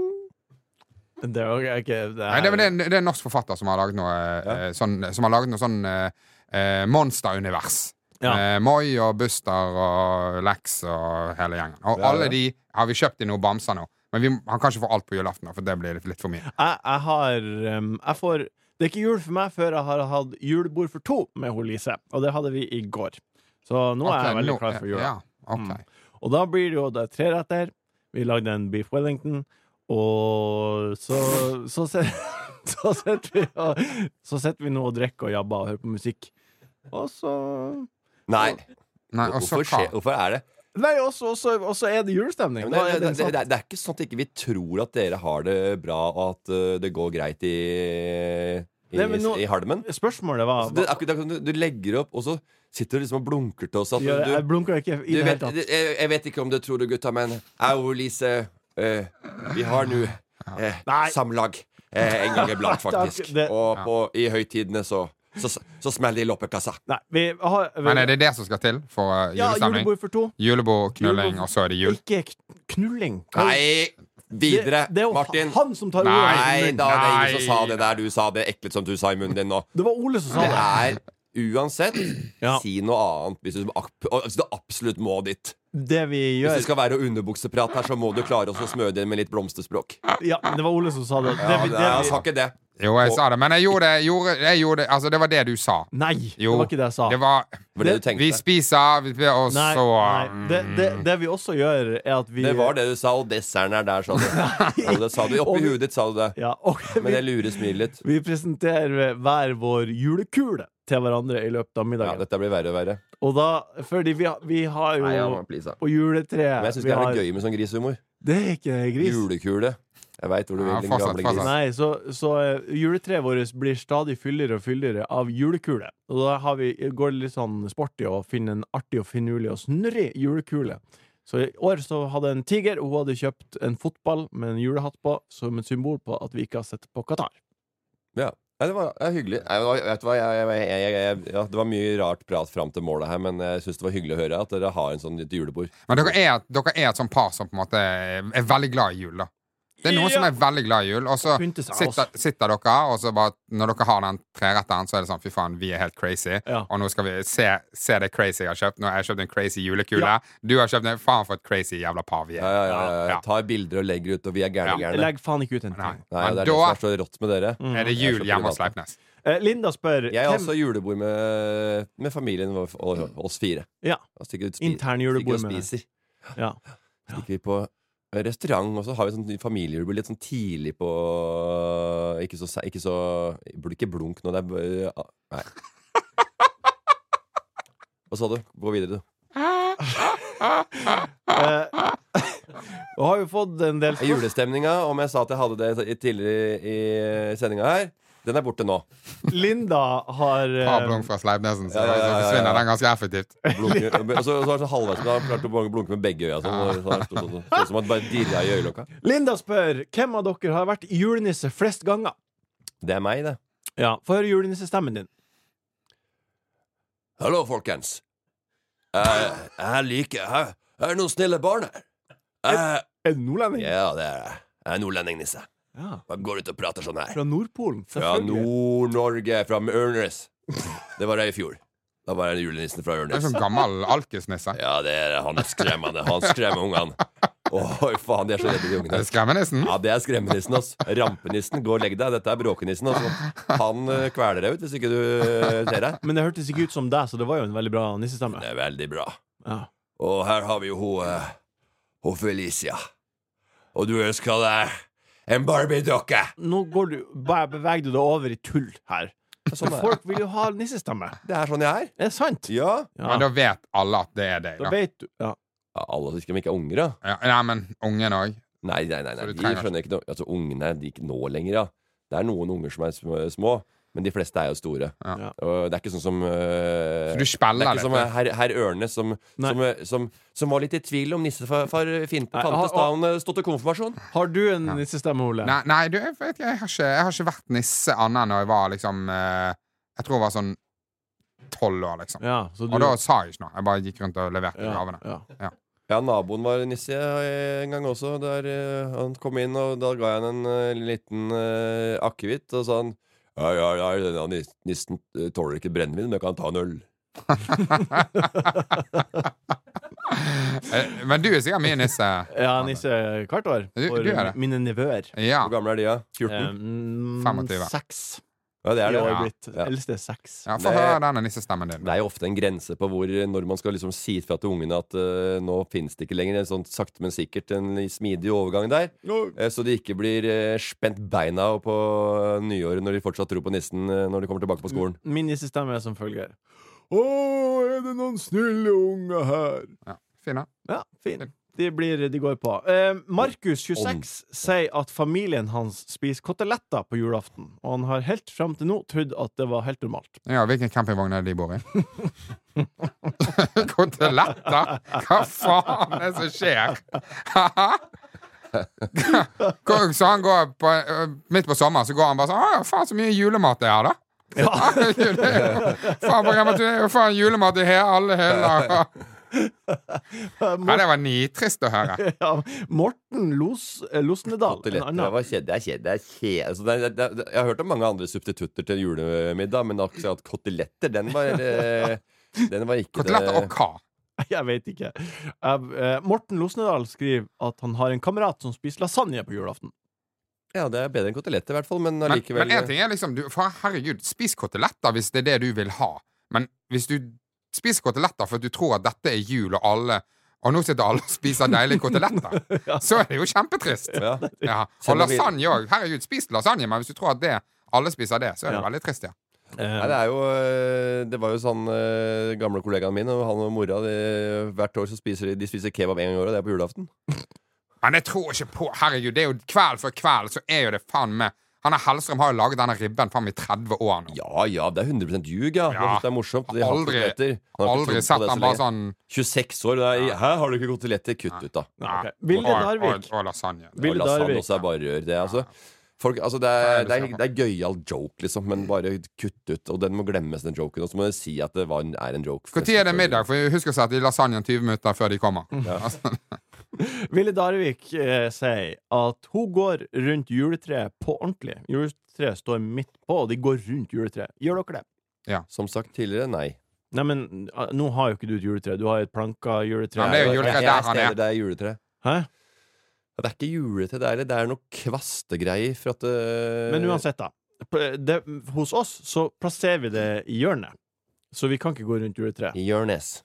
[SPEAKER 3] Det er jo ikke det
[SPEAKER 5] Nei, det,
[SPEAKER 3] her-
[SPEAKER 5] er- det, er- det er en norsk forfatter som har laget noe eh, sånn, Som har laget noe sånn eh, eh, monsterunivers.
[SPEAKER 3] Ja.
[SPEAKER 5] Eh, Moi og Buster og Lex og hele gjengen. Og
[SPEAKER 4] Ja, ja.
[SPEAKER 5] alle de har vi kjøpt i noe bamser nå. Men vi, han kan ikke få alt på julaften, da, for det blir litt- litt for mye.
[SPEAKER 3] Jeg, jeg har um, jeg får, Det er ikke jul for meg før jeg har hatt julebord for to med hun Lise. Og det hadde vi i går. Så nå er jeg
[SPEAKER 5] Ok,
[SPEAKER 3] veldig
[SPEAKER 5] nå-
[SPEAKER 3] klar for Mm. jula.
[SPEAKER 5] Ja, ok.
[SPEAKER 3] Og da blir det jo det er tre retter. Vi lagde en beef wellington. Og så Så, sit- *laughs* så sitter vi og Så sitter vi nå og drikker og jabber og hører på musikk. Og så
[SPEAKER 4] Nei.
[SPEAKER 5] Nei, og så
[SPEAKER 4] Hvorfor,
[SPEAKER 5] hva?
[SPEAKER 4] skje, hvorfor er det?
[SPEAKER 3] Nei, og så- og så og så er det julestemning.
[SPEAKER 4] Men
[SPEAKER 3] Da er
[SPEAKER 4] det, det,
[SPEAKER 3] det
[SPEAKER 4] det,
[SPEAKER 3] sant.
[SPEAKER 4] det, det er ikke sånn at ikke vi ikke tror at dere har det bra, og at eh, det går greit i, i,
[SPEAKER 3] Nei, men nå-
[SPEAKER 4] i halmen.
[SPEAKER 3] Spørsmålet var
[SPEAKER 4] Altså, det, er akkurat, det er akkurat som du, du legger opp, og så sitter du liksom og blunker til oss. At
[SPEAKER 3] Ja, Jeg
[SPEAKER 4] du,
[SPEAKER 3] blunker ikke i
[SPEAKER 4] du
[SPEAKER 3] det hele
[SPEAKER 4] vet,
[SPEAKER 3] tatt.
[SPEAKER 4] jeg, jeg vet ikke om det tror du, gutta, men au, Lise. eh, vi har nå eh,
[SPEAKER 3] Nei.
[SPEAKER 4] samlag eh, en gang
[SPEAKER 3] *laughs*
[SPEAKER 4] iblant, faktisk.
[SPEAKER 3] Det-
[SPEAKER 4] Og på, i høytidene så, så, så smeller det i loppekassa.
[SPEAKER 3] Nei, vi har
[SPEAKER 5] Men er det det som skal til for uh,
[SPEAKER 3] Ja,
[SPEAKER 5] julestemning?
[SPEAKER 3] julebord for to.
[SPEAKER 5] Julebord, knulling,
[SPEAKER 3] Julebord-
[SPEAKER 5] og så er det jul.
[SPEAKER 3] Ikke kn- knulling.
[SPEAKER 4] Nei!
[SPEAKER 3] Det,
[SPEAKER 4] Videre,
[SPEAKER 3] det er jo
[SPEAKER 4] Martin.
[SPEAKER 3] han som tar ordet.
[SPEAKER 4] Nei da, det er ingen som sa
[SPEAKER 5] Nei.
[SPEAKER 4] det der du sa det eklet som du sa i munnen din nå.
[SPEAKER 3] Det var Ole som sa
[SPEAKER 4] Det
[SPEAKER 3] det.
[SPEAKER 4] er uansett
[SPEAKER 3] Ja.
[SPEAKER 4] Si noe annet hvis du, ab- og- hvis du absolutt må dit.
[SPEAKER 3] Det vi
[SPEAKER 4] Hvis det
[SPEAKER 3] gjør
[SPEAKER 4] skal være underbukseprat her, så må du klare oss å smøre det med litt blomsterspråk.
[SPEAKER 3] Ja, det var Ole som sa det. det,
[SPEAKER 4] Ja,
[SPEAKER 3] vi,
[SPEAKER 4] det,
[SPEAKER 3] det
[SPEAKER 4] jeg
[SPEAKER 3] vi,
[SPEAKER 4] sa ikke det.
[SPEAKER 5] Jo, jeg sa det, men jeg gjorde det. Gjorde, jeg gjorde, det- altså, det var det du sa.
[SPEAKER 3] nei,
[SPEAKER 5] Jo,
[SPEAKER 3] det var ikke det jeg sa.
[SPEAKER 5] Det var
[SPEAKER 4] Det var det du
[SPEAKER 5] Vi
[SPEAKER 4] tenkte.
[SPEAKER 5] spiser, vi- og
[SPEAKER 3] nei,
[SPEAKER 5] så
[SPEAKER 3] nei. Det, det, det vi også gjør, er at vi
[SPEAKER 4] Mm. Det var det du sa, og desserten er der, sa
[SPEAKER 3] *laughs*
[SPEAKER 4] du. Jo, det sa du.
[SPEAKER 3] Og
[SPEAKER 4] Oppi
[SPEAKER 3] vi-
[SPEAKER 4] huet ditt sa du det.
[SPEAKER 3] Ja, og
[SPEAKER 4] *laughs* Men jeg
[SPEAKER 3] vi,
[SPEAKER 4] lurer smilet litt.
[SPEAKER 3] vi presenterer hver vår julekule til hverandre i løpet av
[SPEAKER 4] Ja,
[SPEAKER 3] middagen.
[SPEAKER 4] dette blir verre og verre.
[SPEAKER 3] Og da Fordi vi, har- vi har
[SPEAKER 4] Nei, ja,
[SPEAKER 3] jo
[SPEAKER 4] men please, da.
[SPEAKER 3] Og juletreet
[SPEAKER 4] Men jeg syns
[SPEAKER 3] vi
[SPEAKER 4] det er
[SPEAKER 3] har-
[SPEAKER 4] noe gøy med sånn grishumor.
[SPEAKER 3] Det er ikke gris.
[SPEAKER 4] Julekule. Jeg veit hvor du
[SPEAKER 5] Ja,
[SPEAKER 4] vil, din
[SPEAKER 5] fortsatt,
[SPEAKER 4] gamle
[SPEAKER 5] fortsatt.
[SPEAKER 4] gris.
[SPEAKER 3] Nei, så, så eh, juletreet vårt blir stadig fylligere og fylligere av julekule. Og da har vi, går det litt sånn sporty å finne en artig og finurlig og snurrig julekule. Så i år så hadde en tiger, og hun hadde kjøpt en fotball med en julehatt på, som et symbol på at vi ikke har sett på Qatar.
[SPEAKER 4] Ja. Nei, det var ja, hyggelig. Nei, det var- vet du hva, jeg, jeg, jeg, jeg, jeg, ja, det var mye rart prat fram til målet her, men jeg syns det var hyggelig å høre at dere har en sånn litt julebord.
[SPEAKER 5] Men dere er, dere er et sånn par som på en måte er veldig glad i jul, da. Det er noen som er veldig glad i jul, og så
[SPEAKER 3] Pynte seg,
[SPEAKER 5] sitter,
[SPEAKER 3] altså.
[SPEAKER 5] sitter dere og så bare Når dere har den treretteren, så er det sånn fy faen, vi er helt crazy,
[SPEAKER 3] Ja.
[SPEAKER 5] og nå skal vi se, se det crazy jeg har kjøpt. Nå har jeg kjøpt en crazy julekule.
[SPEAKER 3] Ja.
[SPEAKER 5] Du har kjøpt en faen for et crazy jævla par vi er.
[SPEAKER 4] Ja, ja, ja, ja.
[SPEAKER 5] Ja.
[SPEAKER 4] Tar bilder og legger ut, og vi er gærne,
[SPEAKER 5] Ja.
[SPEAKER 4] gærne.
[SPEAKER 3] Legg faen ikke ut en ting.
[SPEAKER 4] Nei,
[SPEAKER 5] Men
[SPEAKER 4] det er det
[SPEAKER 5] da Mm.
[SPEAKER 4] som er så rått med dere.
[SPEAKER 5] er det
[SPEAKER 4] Jeg er
[SPEAKER 5] jul
[SPEAKER 4] så
[SPEAKER 5] hjemme hos
[SPEAKER 4] privat.
[SPEAKER 5] Sleipnes.
[SPEAKER 3] Eh, Linda spør
[SPEAKER 4] Jeg har
[SPEAKER 3] hvem-
[SPEAKER 4] også julebord med, med familien vår og oss fire.
[SPEAKER 3] Ja.
[SPEAKER 4] Da stikker vi ut spi-
[SPEAKER 3] Intern julebord
[SPEAKER 4] stikker vi
[SPEAKER 3] med
[SPEAKER 4] og spiser.
[SPEAKER 3] ja.
[SPEAKER 4] Stikker vi på eh, restaurant, og så har vi sånn familiejulebord litt sånn tidlig på Ikke så, se- ikke så bl- Ikke blunk nå, det er b- ah,
[SPEAKER 3] *laughs*
[SPEAKER 4] Nei. Hva sa du? Gå videre, du.
[SPEAKER 3] eh, *laughs* Og har jo fått en del
[SPEAKER 4] Er Julestemninga, om jeg sa at jeg hadde det i- tidligere i sendinga her, den er borte nå.
[SPEAKER 3] Linda har eh,
[SPEAKER 5] Par blunk fra Sleipnesen, så,
[SPEAKER 4] Ja, ja, ja, ja,
[SPEAKER 5] så
[SPEAKER 4] ja.
[SPEAKER 5] forsvinner den ganske effektivt.
[SPEAKER 4] Blunker. Og så, og så er det så halvveis men han klarte å blunke med begge øya. Sånn, sånn, sånn, sånn, sånn, sånn som at det bare dirra i øyelokka.
[SPEAKER 3] Linda spør hvem av dere har vært julenisse flest ganger.
[SPEAKER 4] Det er meg, det.
[SPEAKER 3] Ja, Få høre julenissestemmen din.
[SPEAKER 4] Hallo, folkens. Jeg, jeg liker jeg, jeg er noen snille barn her. Jeg,
[SPEAKER 3] Er du nordlending?
[SPEAKER 4] ja, det er jeg. Jeg er nordlending-nisse.
[SPEAKER 3] Ja.
[SPEAKER 4] Jeg går ut og prater sånn her.
[SPEAKER 3] Fra Nordpolen,
[SPEAKER 4] Fra
[SPEAKER 3] selvfølgelig.
[SPEAKER 4] Nord-Norge, fra Ørnes. Det var jeg i fjor. Da var jeg julenissen fra
[SPEAKER 5] Det er
[SPEAKER 4] Ørnes.
[SPEAKER 5] sånn gammel alkisnisse.
[SPEAKER 4] Ja, det er han skremmende. Han skremmer ungene. Oi, faen, de er så redde, de ungene.
[SPEAKER 5] Skremmenissen?
[SPEAKER 4] Ja, det er skremmenissen, ass. Rampenissen, gå og legg deg. Dette er bråkenissen, altså. Han eh, kveler deg ut hvis ikke du eh, ser deg.
[SPEAKER 3] Men det hørtes ikke ut som deg, så det var jo en veldig bra nissestemme.
[SPEAKER 4] Det er veldig bra.
[SPEAKER 3] Ja.
[SPEAKER 4] Og her har vi jo hun, eh, hun Felicia. Og du ønsker deg en Barbie-dokke.
[SPEAKER 3] Nå går du, bare beveger du deg over i tull her. Så folk vil jo ha nissestemme.
[SPEAKER 4] Det er sånn jeg er.
[SPEAKER 3] Det er sant.
[SPEAKER 4] Ja.
[SPEAKER 5] Men da vet alle at det er deg,
[SPEAKER 3] Da
[SPEAKER 5] da.
[SPEAKER 3] vet du ja.
[SPEAKER 4] ja alle som ikke om ikke er unger, da.
[SPEAKER 5] Ja, nei, men ungen òg.
[SPEAKER 4] Nei, nei, nei.
[SPEAKER 5] Så
[SPEAKER 4] nei.
[SPEAKER 5] du
[SPEAKER 4] De
[SPEAKER 5] trenger-
[SPEAKER 4] skjønner ikke noe. Altså, ungene de ikke nå lenger, ja. Det er noen unger som er sm- små, men de fleste er jo store.
[SPEAKER 3] Ja.
[SPEAKER 4] Og det er ikke sånn som eh,
[SPEAKER 5] Du
[SPEAKER 4] Det
[SPEAKER 5] spiller
[SPEAKER 4] er ikke som
[SPEAKER 5] litt.
[SPEAKER 4] eh, herr her Ørnes som,
[SPEAKER 3] Nei.
[SPEAKER 4] som, eh, som, som var litt i tvil om nissefar Finn på
[SPEAKER 3] Nei,
[SPEAKER 4] Fantes da
[SPEAKER 3] og-
[SPEAKER 4] han eh, stod til konfirmasjon.
[SPEAKER 3] Har du en nissestemme, Ole?
[SPEAKER 5] Nei, nei du, jeg, vet ikke, jeg, har ikke, jeg har ikke vært nisse annet enn da jeg var liksom eh, Jeg tror jeg var sånn tolv år, liksom.
[SPEAKER 3] Ja, så du,
[SPEAKER 5] Og da sa jeg ikke noe. Jeg bare gikk rundt og leverte
[SPEAKER 3] ja,
[SPEAKER 5] gavene.
[SPEAKER 3] ja.
[SPEAKER 4] Ja, naboen var nisse eh, en gang også. Der eh, han kom inn, og da ga jeg han en eh, liten eh, akevitt, og sa han Ja, ja, ja, denne nis- nissen eh, tåler ikke brennevin, men jeg kan ta en øl.
[SPEAKER 5] Eh, Men du er sikkert min nisse.
[SPEAKER 3] *laughs* Ja, nisse hvert år.
[SPEAKER 5] Du-
[SPEAKER 3] For
[SPEAKER 5] du er det.
[SPEAKER 3] mine nevøer.
[SPEAKER 5] Ja.
[SPEAKER 4] Hvor gamle er de, da? 14?
[SPEAKER 3] Um,
[SPEAKER 5] 25.
[SPEAKER 3] Seks.
[SPEAKER 4] Ja, det
[SPEAKER 3] I
[SPEAKER 4] er det.
[SPEAKER 3] år
[SPEAKER 5] Ja.
[SPEAKER 3] blitt.
[SPEAKER 4] Ja.
[SPEAKER 3] Eldste er seks.
[SPEAKER 5] ja Få
[SPEAKER 4] Det-
[SPEAKER 5] høre denne nissestemmen din.
[SPEAKER 4] Det er jo ofte en grense på hvor, når man skal liksom si fra til ungene at eh, nå finnes det ikke lenger en sånn sakte, men sikkert en smidig overgang der. Eh, så de ikke blir eh, spent beina på eh, nyåret når de fortsatt tror på nissen eh, når de kommer tilbake på skolen.
[SPEAKER 3] Min nissestemme er som følger. Å, er det noen snille unge her?
[SPEAKER 5] Ja. Fin, da.
[SPEAKER 3] Ja, fin. De, blir, de går på. Eh, Markus, 26, sier at familien hans spiser koteletter på julaften. Og han har helt fram til nå trodd at det var helt normalt. *laughs*
[SPEAKER 5] Ja, hvilken campingvogn er det de bor i? *laughs* Koteletter? Hva faen er det som skjer? Ko- så han går på, eh, midt på sommeren så går han bare sånn Å, faen, så mye julemat det er, da. *laughs* det er jo- faen, på Rema 1000 er jo faen julemat i he- alle hyller. Ja, det var nitrist å høre.
[SPEAKER 3] Ja, Morten Los, eh, Losnedal, en
[SPEAKER 4] Koteletter, det
[SPEAKER 3] annen.
[SPEAKER 4] var kjede, det er kjede, det er kjede. Altså, det, er- det, er- Jeg har hørt om mange andre substitutter til julemiddag, men akkurat koteletter, den var, eh,
[SPEAKER 5] *laughs*
[SPEAKER 4] den var ikke
[SPEAKER 5] Koteletter og
[SPEAKER 4] det.
[SPEAKER 5] hva?
[SPEAKER 3] *laughs* Jeg vet ikke. Eh, Morten Losnedal skriver at han har en kamerat som spiser lasagne på julaften.
[SPEAKER 4] Ja, det er bedre enn koteletter i hvert fall, men eh,
[SPEAKER 5] Men,
[SPEAKER 4] allikevel
[SPEAKER 5] men en ting er liksom du, for Herregud, spis koteletter hvis det er det du vil ha. Men hvis du spiser koteletter for at du tror at dette er jul, og alle Og nå sitter alle og spiser deilige koteletter, så er det jo kjempetrist.
[SPEAKER 4] eh, Ja.
[SPEAKER 5] Ja. Og
[SPEAKER 4] Send det videre.
[SPEAKER 5] lasagne òg. Herregud, spis lasagne, men hvis du tror at det alle spiser det, så er det veldig trist, ja.
[SPEAKER 4] Nei, det, er jo, eh, det var jo sånn eh, gamle kollegaen min og han og mora de, Hvert år så spiser de, de spiser kebab en gang i året. Det er på julaften.
[SPEAKER 5] Men jeg tror ikke på Herregud, det er jo kveld for kveld, så er jo det faen meg Han er Hellstrøm har jo laget denne ribben faen meg i 30 år nå.
[SPEAKER 4] Ja ja, det er 100 ljug, ja.
[SPEAKER 5] Ja.
[SPEAKER 4] Jeg synes det er morsomt. De har
[SPEAKER 5] Aldri,
[SPEAKER 4] koteletter. Han har ikke
[SPEAKER 5] aldri
[SPEAKER 4] trodd på
[SPEAKER 5] sett
[SPEAKER 4] det så
[SPEAKER 5] han
[SPEAKER 4] lenge.
[SPEAKER 5] bare sånn
[SPEAKER 4] 26 år, og det er, hæ, har du ikke koteletter? Kutt ut, da.
[SPEAKER 3] Ok.
[SPEAKER 5] ja,
[SPEAKER 3] Vilde
[SPEAKER 5] og-
[SPEAKER 3] Darvik.
[SPEAKER 5] Og, og lasagne.
[SPEAKER 4] Og
[SPEAKER 3] Ville
[SPEAKER 4] lasagne
[SPEAKER 3] Darvik.
[SPEAKER 4] også er bare rør. Det, er altså. Folk, altså det,
[SPEAKER 5] Ja,
[SPEAKER 4] er,
[SPEAKER 5] det
[SPEAKER 4] det,
[SPEAKER 5] skal
[SPEAKER 4] er,
[SPEAKER 5] man.
[SPEAKER 4] det er gøyal joke, liksom, men bare kutt ut. Og den må glemmes, den joken. Og så må jeg si at det var en, er en joke.
[SPEAKER 5] Når er det middag? For Husk å sette i lasagnen 20 minutter før de kommer. *laughs* Altså,
[SPEAKER 3] Ville Darvik eh, sier at hun går rundt juletreet på ordentlig. Juletreet står midt på, og de går rundt juletreet. Gjør dere det?
[SPEAKER 4] Som sagt tidligere, nei.
[SPEAKER 3] Nei, men ah, nå har jo ikke du et juletre. Du har et planka juletre.
[SPEAKER 5] Ja, men det er jo
[SPEAKER 4] Jeg-
[SPEAKER 5] juletre
[SPEAKER 4] jeg-
[SPEAKER 5] der
[SPEAKER 4] jeg
[SPEAKER 5] han
[SPEAKER 4] steder
[SPEAKER 5] er.
[SPEAKER 4] Det er juletre.
[SPEAKER 3] Hæ?
[SPEAKER 4] Ja, Det er ikke julete, det er, det er noe kvastegreier for at eh,
[SPEAKER 3] Men uansett, da. P- Det, hos oss så plasserer vi det i hjørnet. Så vi kan ikke gå rundt juletreet.
[SPEAKER 4] I Jørnes.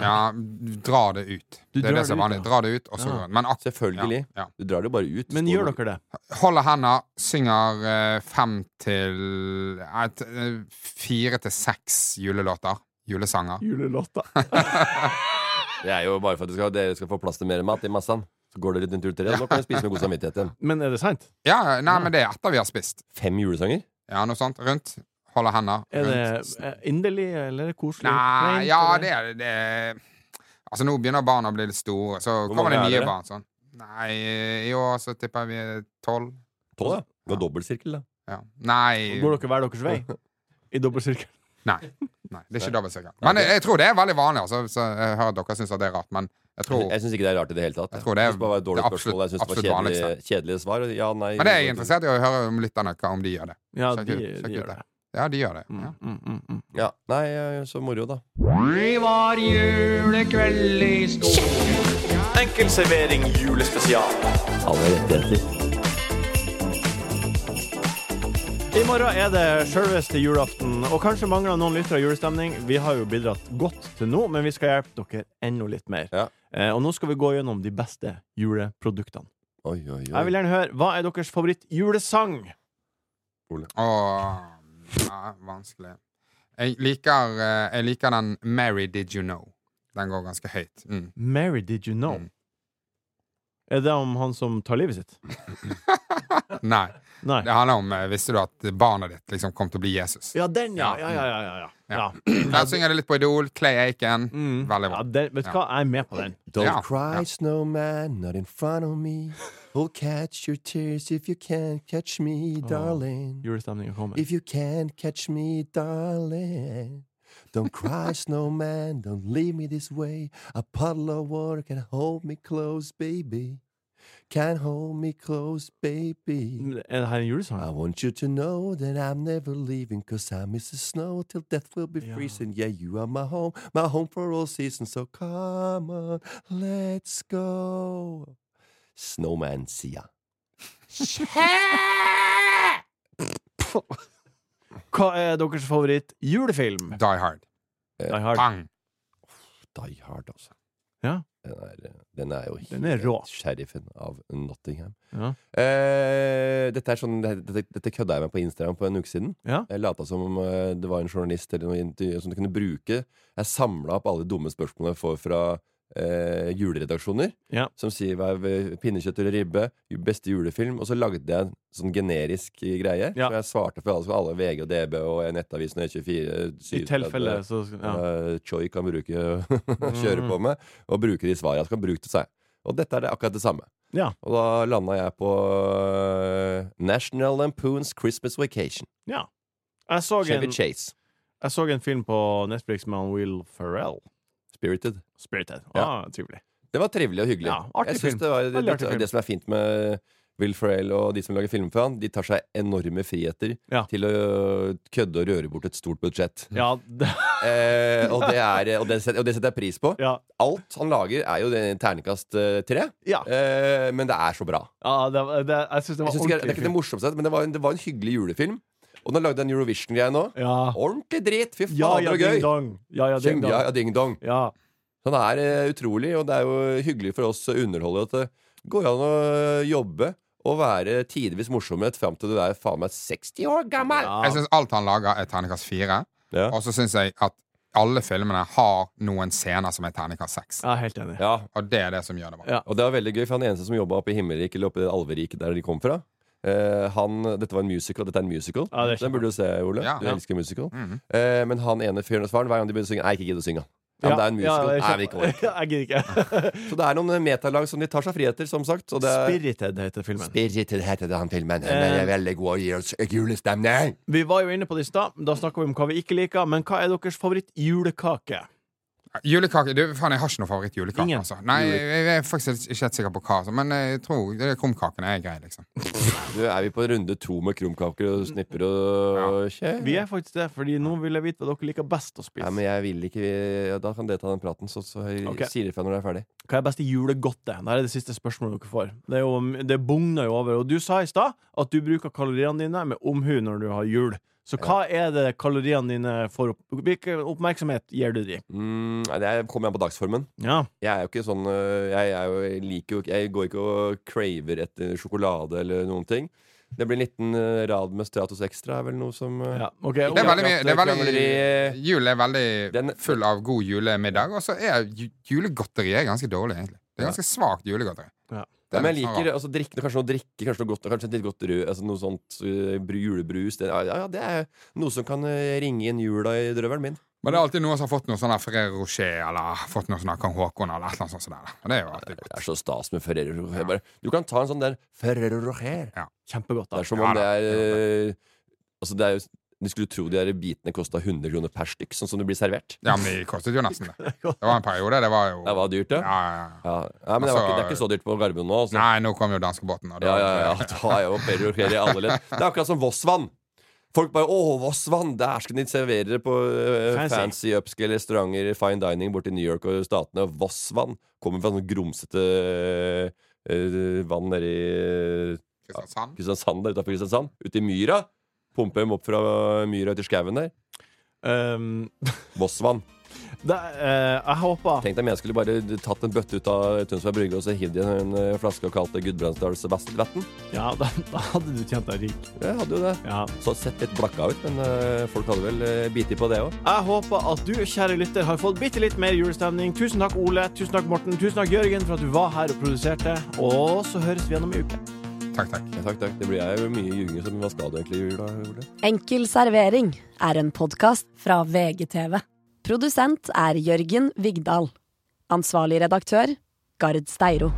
[SPEAKER 5] ja, dra det ut.
[SPEAKER 3] Du
[SPEAKER 5] det er
[SPEAKER 3] drar
[SPEAKER 5] det som
[SPEAKER 3] det
[SPEAKER 5] er
[SPEAKER 3] ut,
[SPEAKER 5] vanlig.
[SPEAKER 3] ja.
[SPEAKER 5] Dra det ut, og så
[SPEAKER 3] Ja.
[SPEAKER 5] Men ak
[SPEAKER 4] Selvfølgelig.
[SPEAKER 5] Ja, ja.
[SPEAKER 4] Du drar det jo bare ut.
[SPEAKER 3] Men gjør dere det?
[SPEAKER 5] Holder hender, synger eh, fem til eh, t- eh, Fire til seks julelåter. Julesanger.
[SPEAKER 3] Julelåta.
[SPEAKER 4] Det er jo bare for at dere skal, dere skal få plass til mer mat i massen. Så går dere rundt juletreet, og nå kan dere spise med god samvittighet igjen.
[SPEAKER 3] *laughs* Men er det sant?
[SPEAKER 5] Ja, ja, nei, men det er etter vi har spist.
[SPEAKER 4] Fem julesanger?
[SPEAKER 5] Ja, noe sånt. Rundt. Holder hender.
[SPEAKER 3] Er det
[SPEAKER 5] Rundt.
[SPEAKER 3] eh, inderlig, eller er det koselig?
[SPEAKER 5] Nei,
[SPEAKER 3] Kleint,
[SPEAKER 5] ja,
[SPEAKER 3] eller?
[SPEAKER 5] det er det. er- Altså, nå begynner barna å bli litt store, så
[SPEAKER 4] Hvor
[SPEAKER 5] kommer det
[SPEAKER 4] mange er
[SPEAKER 5] nye
[SPEAKER 4] dere?
[SPEAKER 5] barn. Sånn. Nei, i år så tipper vi tolv.
[SPEAKER 4] Tolv, ja. Det var dobbeltsirkel, da.
[SPEAKER 5] Ja. Nei
[SPEAKER 3] Går dere hver deres vei? I dobbeltsirkel?
[SPEAKER 5] Nei. Nei, det er ikke dobbeltsirkel. Men jeg, jeg tror det er veldig vanlig. Altså, så jeg hører at dere syns det er rart, men jeg tror
[SPEAKER 4] Jeg syns ikke det er rart i det hele tatt.
[SPEAKER 5] Jeg tror det er-
[SPEAKER 4] synes bare var et dårlig
[SPEAKER 5] det er absolutt-
[SPEAKER 4] spørsmål. Jeg synes det var
[SPEAKER 5] absolutt
[SPEAKER 4] kjedelige, kjedelige svar. og Ja, nei
[SPEAKER 5] Men det er jeg interessert i å høre om lytterne hva om de gjør det.
[SPEAKER 3] Ja,
[SPEAKER 5] Sjekk
[SPEAKER 3] de,
[SPEAKER 5] ut-
[SPEAKER 3] de
[SPEAKER 5] sjekk ut
[SPEAKER 3] gjør det.
[SPEAKER 5] Ja, de gjør det. Ja.
[SPEAKER 3] Mm, mm, mm.
[SPEAKER 4] Ja. Nei, eh, så moro, da.
[SPEAKER 7] Det var julekveld i stort.
[SPEAKER 8] Enkel servering julespesial.
[SPEAKER 4] Alle rettigheter.
[SPEAKER 3] I morgen er det selveste julaften, og kanskje mangler noen lyttere julestemning. Vi har jo bidratt godt til nå, men vi skal hjelpe dere enda litt mer.
[SPEAKER 4] Ja.
[SPEAKER 3] Eh, og nå skal vi gå gjennom de beste juleproduktene.
[SPEAKER 4] Oi, oi,
[SPEAKER 3] Jeg vil
[SPEAKER 4] oi.
[SPEAKER 3] gjerne høre, Hva er deres favorittjulesang?
[SPEAKER 5] Åh, ja, vanskelig. Jeg liker, eh, jeg liker den 'Mary Did You Know'. Den går ganske høyt. Mm.
[SPEAKER 3] Mary, did you know?
[SPEAKER 5] Mm.
[SPEAKER 3] Er det om han som tar livet sitt?
[SPEAKER 5] Nei.
[SPEAKER 3] Nei.
[SPEAKER 5] Det handler om eh, Visste du at barnet ditt liksom kom til å bli Jesus?
[SPEAKER 3] Ja, den, ja. Ja,
[SPEAKER 5] Ja.
[SPEAKER 3] ja, ja. ja, ja.
[SPEAKER 4] *clears throat*
[SPEAKER 5] Ja.
[SPEAKER 3] ja.
[SPEAKER 5] *clears throat* Der synger det litt på Idol. Clay Aiken.
[SPEAKER 3] Mm. ja
[SPEAKER 5] Veldig bra.
[SPEAKER 3] den, vet du hva, jeg er med på den.
[SPEAKER 4] Don't
[SPEAKER 5] Ja.
[SPEAKER 4] cry,
[SPEAKER 5] Ja.
[SPEAKER 4] snowman, not in front of me. We'll catch your tears if you can't catch me, darling.
[SPEAKER 3] Julestemningen kommer.
[SPEAKER 4] If you can't catch me, darling. Don't
[SPEAKER 3] *laughs*
[SPEAKER 4] cry, snowman, don't leave me this way. A puddle of water can hold me close, baby. Can't hold me close, baby.
[SPEAKER 3] Er det her en julesang?
[SPEAKER 4] I want you to know that I'm never leaving, cause I miss the snow till death will be
[SPEAKER 3] Ja.
[SPEAKER 4] freezing. Yeah, you are my home, my home for all seasons, so come on, let's go. Snowman Sia.
[SPEAKER 3] Hva er deres favoritt-julefilm?
[SPEAKER 5] Die Hard.
[SPEAKER 3] Die Hard.
[SPEAKER 5] Bang!
[SPEAKER 4] Die Hard, altså.
[SPEAKER 3] Ja.
[SPEAKER 4] Den er, eh, den er jo
[SPEAKER 3] Den er rå.
[SPEAKER 4] helt sheriffen av Nottingham.
[SPEAKER 3] Ja.
[SPEAKER 4] Eh, dette er sånn, dette, dette kødda jeg med på Instagram for en uke siden.
[SPEAKER 3] Ja.
[SPEAKER 4] Jeg lata som om eh, det var en journalist eller noe intervju som du kunne bruke. Jeg samla opp alle de dumme spørsmålene jeg får fra eh, juleredaksjoner.
[SPEAKER 3] Ja.
[SPEAKER 4] Som sier hva er pinnekjøtt eller ribbe, beste julefilm. Og så lagde jeg en sånn generisk greie.
[SPEAKER 3] Ja.
[SPEAKER 4] Så jeg svarte for alle, så alle VG og DB og Nettavisen og E24.
[SPEAKER 3] I
[SPEAKER 4] 37,
[SPEAKER 3] tilfelle, så ja. Mm.
[SPEAKER 4] eh, Choi kan bruke *laughs* kjøre på med, og bruke de svarene han skal bruke til seg. Og dette er det akkurat det samme.
[SPEAKER 3] Ja.
[SPEAKER 4] Og da landa jeg på eh, National Lampoons Christmas Vacation.
[SPEAKER 3] ja. Jeg, så
[SPEAKER 4] Chevy
[SPEAKER 3] en,
[SPEAKER 4] Chase.
[SPEAKER 3] jeg så en film på Netflix med han Will Ferrell.
[SPEAKER 4] Spirited.
[SPEAKER 3] Spirited.
[SPEAKER 4] Ja.
[SPEAKER 3] Ah, trivelig.
[SPEAKER 4] Det var trivelig og hyggelig.
[SPEAKER 3] Ja, artig
[SPEAKER 4] jeg synes
[SPEAKER 3] film.
[SPEAKER 4] det, var, det,
[SPEAKER 3] Veldig artig
[SPEAKER 4] det,
[SPEAKER 3] film.
[SPEAKER 4] det som er fint med Will Ferrell og de som lager film for han, de tar seg enorme friheter
[SPEAKER 3] Ja.
[SPEAKER 4] til å kødde og røre bort et stort budsjett.
[SPEAKER 3] Ja, *laughs* det,
[SPEAKER 4] Eh, og, det er, og, det setter, og det setter jeg pris på.
[SPEAKER 3] ja.
[SPEAKER 4] Alt han lager, er jo det terningkast eh, tre,
[SPEAKER 3] Ja.
[SPEAKER 4] eh, men det er så bra.
[SPEAKER 3] ja ah, det, var- det, jeg syns det
[SPEAKER 4] Jeg
[SPEAKER 3] var
[SPEAKER 4] synes ikke, det er
[SPEAKER 3] ordentlig
[SPEAKER 4] ikke det
[SPEAKER 3] fint.
[SPEAKER 4] morsomste, men det var, en, det var en hyggelig julefilm. Og den har lagd en Eurovision-greie nå.
[SPEAKER 3] Ja.
[SPEAKER 4] Ordentlig drit! Fy
[SPEAKER 3] ja,
[SPEAKER 4] fader,
[SPEAKER 3] ja,
[SPEAKER 4] og
[SPEAKER 3] ding
[SPEAKER 4] gøy!
[SPEAKER 3] dong. Ja, ja, ding
[SPEAKER 4] Kjem- Ja,
[SPEAKER 3] dong.
[SPEAKER 4] ja, ding dong.
[SPEAKER 3] Ja.
[SPEAKER 4] Så han er eh, utrolig, og det er jo hyggelig for oss underholdere at det går an å eh, jobbe og være tidvis morsomhet fram til du er faen meg 60 år gammel!
[SPEAKER 3] Ja.
[SPEAKER 5] Jeg syns alt han lager, er terningkast fire.
[SPEAKER 4] Ja.
[SPEAKER 5] Og så syns jeg at alle filmene har noen scener som er terningkast seks.
[SPEAKER 3] Jeg er helt enig.
[SPEAKER 4] Ja,
[SPEAKER 5] Og det er det som gjør det bra.
[SPEAKER 3] Ja.
[SPEAKER 4] Og det var veldig gøy, for han eneste som jobba oppe i himmelriket, eller oppe i alveriket der de kom fra eh, han, Dette var en musical, dette er en musical.
[SPEAKER 3] Ja, det er
[SPEAKER 4] Den burde du se, Ole.
[SPEAKER 5] Ja.
[SPEAKER 4] Du elsker musical.
[SPEAKER 5] Mhm.
[SPEAKER 4] Eh, men han ene fyren og svaren, hver gang de begynner å synge Nei, ikke gidd å synge. Ja, men det er en musical.
[SPEAKER 3] jeg
[SPEAKER 4] Nei, men
[SPEAKER 3] *laughs*
[SPEAKER 4] ikke
[SPEAKER 3] skjønner.
[SPEAKER 4] ork.
[SPEAKER 3] Jeg gidder ikke.
[SPEAKER 4] Så det er noen eh, metalag som de tar seg friheter, som sagt. Og det er
[SPEAKER 3] Spirited heter filmen.
[SPEAKER 4] Spirited heter det han filmen. Den
[SPEAKER 3] Eh.
[SPEAKER 4] er veldig god og gir oss julestemning.
[SPEAKER 3] Vi var jo inne på det i stad. Da snakka vi om hva vi ikke liker. Men hva er deres favoritt-julekake?
[SPEAKER 5] Julekake du, faen, Jeg har ikke noe favoritt-julekake.
[SPEAKER 3] Ingen.
[SPEAKER 5] Altså. Nei, jeg, jeg er faktisk ikke helt sikker på hva, altså. men jeg tror det er krumkakene er grei, liksom.
[SPEAKER 4] Du, er vi på runde to med krumkaker og snipper og skje?
[SPEAKER 3] Vi er faktisk det, fordi nå vil jeg vite hva dere liker best å
[SPEAKER 4] Nei,
[SPEAKER 3] spise.
[SPEAKER 4] men jeg vil ikke ja, Da kan dere ta den praten, så, så jeg
[SPEAKER 3] Ok.
[SPEAKER 4] sier ifra når det er ferdig.
[SPEAKER 3] Hva er beste julegodte? Det er det siste spørsmålet dere får. Det, er jo, det bugner jo over. Og du sa i stad at du bruker kaloriene dine med omhu når du har jul. Så hva er det kaloriene dine får opp... Hvilken oppmerksomhet gir du dem?
[SPEAKER 4] Mm, nei, det er- kommer an på dagsformen.
[SPEAKER 3] Ja.
[SPEAKER 4] Jeg er jo ikke sånn øh, Jeg, er jo, jeg liker jo ikke Jeg går ikke og craver etter sjokolade eller noen ting. Det blir en liten øh, rad med Stratos Extra, er vel noe som øh,
[SPEAKER 3] ja. ok.
[SPEAKER 5] Det er veldig,
[SPEAKER 4] Ja,
[SPEAKER 5] mye- det er
[SPEAKER 4] krangleri-
[SPEAKER 5] veldig, jul er veldig
[SPEAKER 4] Den-
[SPEAKER 5] full av god julemiddag, og så er ju- julegodteriet ganske dårlig, egentlig. Det er ganske svakt julegodteri.
[SPEAKER 3] Ja.
[SPEAKER 5] Det er
[SPEAKER 4] men jeg
[SPEAKER 5] litt
[SPEAKER 4] liker
[SPEAKER 5] sånn rart.
[SPEAKER 4] altså, drikke, kanskje noe drikke, kanskje noe godt, kanskje et litt godt rød, altså, noe sånt øh, bru- julebrus. Det, ja, ja, det er noe som kan øh, ringe inn jula i drøvelen min.
[SPEAKER 5] Men det er alltid noen som har fått noe sånn der Ferrero Rocher eller fått noe sånn der Kong Haakon eller et eller annet sånt. som det er, da. Og det er jo alltid
[SPEAKER 4] Det
[SPEAKER 5] godt.
[SPEAKER 4] er så stas med Ferrero Rocher. Jeg bare, Du kan ta en sånn der Ferrero Rocher.
[SPEAKER 3] Kjempegodt.
[SPEAKER 4] Det
[SPEAKER 3] da
[SPEAKER 4] er som
[SPEAKER 5] Ja,
[SPEAKER 4] om det
[SPEAKER 5] da.
[SPEAKER 4] er øh, Altså, det er jo Du skulle tro de der bitene kosta 100 kroner per stykk, sånn som det blir servert.
[SPEAKER 5] Ja, men det kostet jo nesten *laughs* det. Det var en periode, det var jo
[SPEAKER 4] Det var dyrt, det.
[SPEAKER 5] Ja, ja, ja.
[SPEAKER 4] Ja, ja men det, var
[SPEAKER 5] Altså-
[SPEAKER 4] ikke, det er ikke så dyrt på Gardermoen nå. Altså.
[SPEAKER 5] Nei, nå kom jo danskebåten. og da-
[SPEAKER 4] Ja, ja, ja, ja. Da er jo Pedro Rocher i alle ledd. Det er akkurat som Vossvann. Folk bare 'Å, Vossvann! Der skal de servere det på øh,
[SPEAKER 3] Fancy.
[SPEAKER 4] fancy upscale restauranter, fine dining borte i New York og statene. Vossvann kommer fra sånn grumsete øh, vann nedi øh,
[SPEAKER 5] Kristiansand.
[SPEAKER 4] Kristiansand, der utenfor Kristiansand. Ute i myra. Pumpe dem opp fra myra ut i skauen der.
[SPEAKER 3] *laughs* Um,
[SPEAKER 4] Vossvann.
[SPEAKER 3] det, eh, jeg håper
[SPEAKER 4] Tenk deg om jeg skulle bare tatt en bøtte ut av Tønsberg Brygge og så hivd i en eh, flaske og kalt det Gudbrandsdalsvatn.
[SPEAKER 3] Ja, da, da hadde du tjent deg rik.
[SPEAKER 4] Jeg hadde jo det.
[SPEAKER 3] Ja.
[SPEAKER 4] Så sett litt blakka ut, men eh, folk hadde vel uh, biti på det òg.
[SPEAKER 3] Jeg håper at du, kjære lytter, har fått bitte litt mer julestemning. Tusen takk, Ole. Tusen takk, Morten. Tusen takk, Jørgen, for at du var her og produserte. Og så høres vi igjen om en uke.
[SPEAKER 5] Takk, takk.
[SPEAKER 4] Ja, takk, takk. Det blir jeg jo mye ljugende, så- men hva skal du egentlig i jula? Ole?
[SPEAKER 6] Enkel servering er en podkast fra VGTV. Produsent er Jørgen Vigdal. Ansvarlig redaktør Gard Steiro.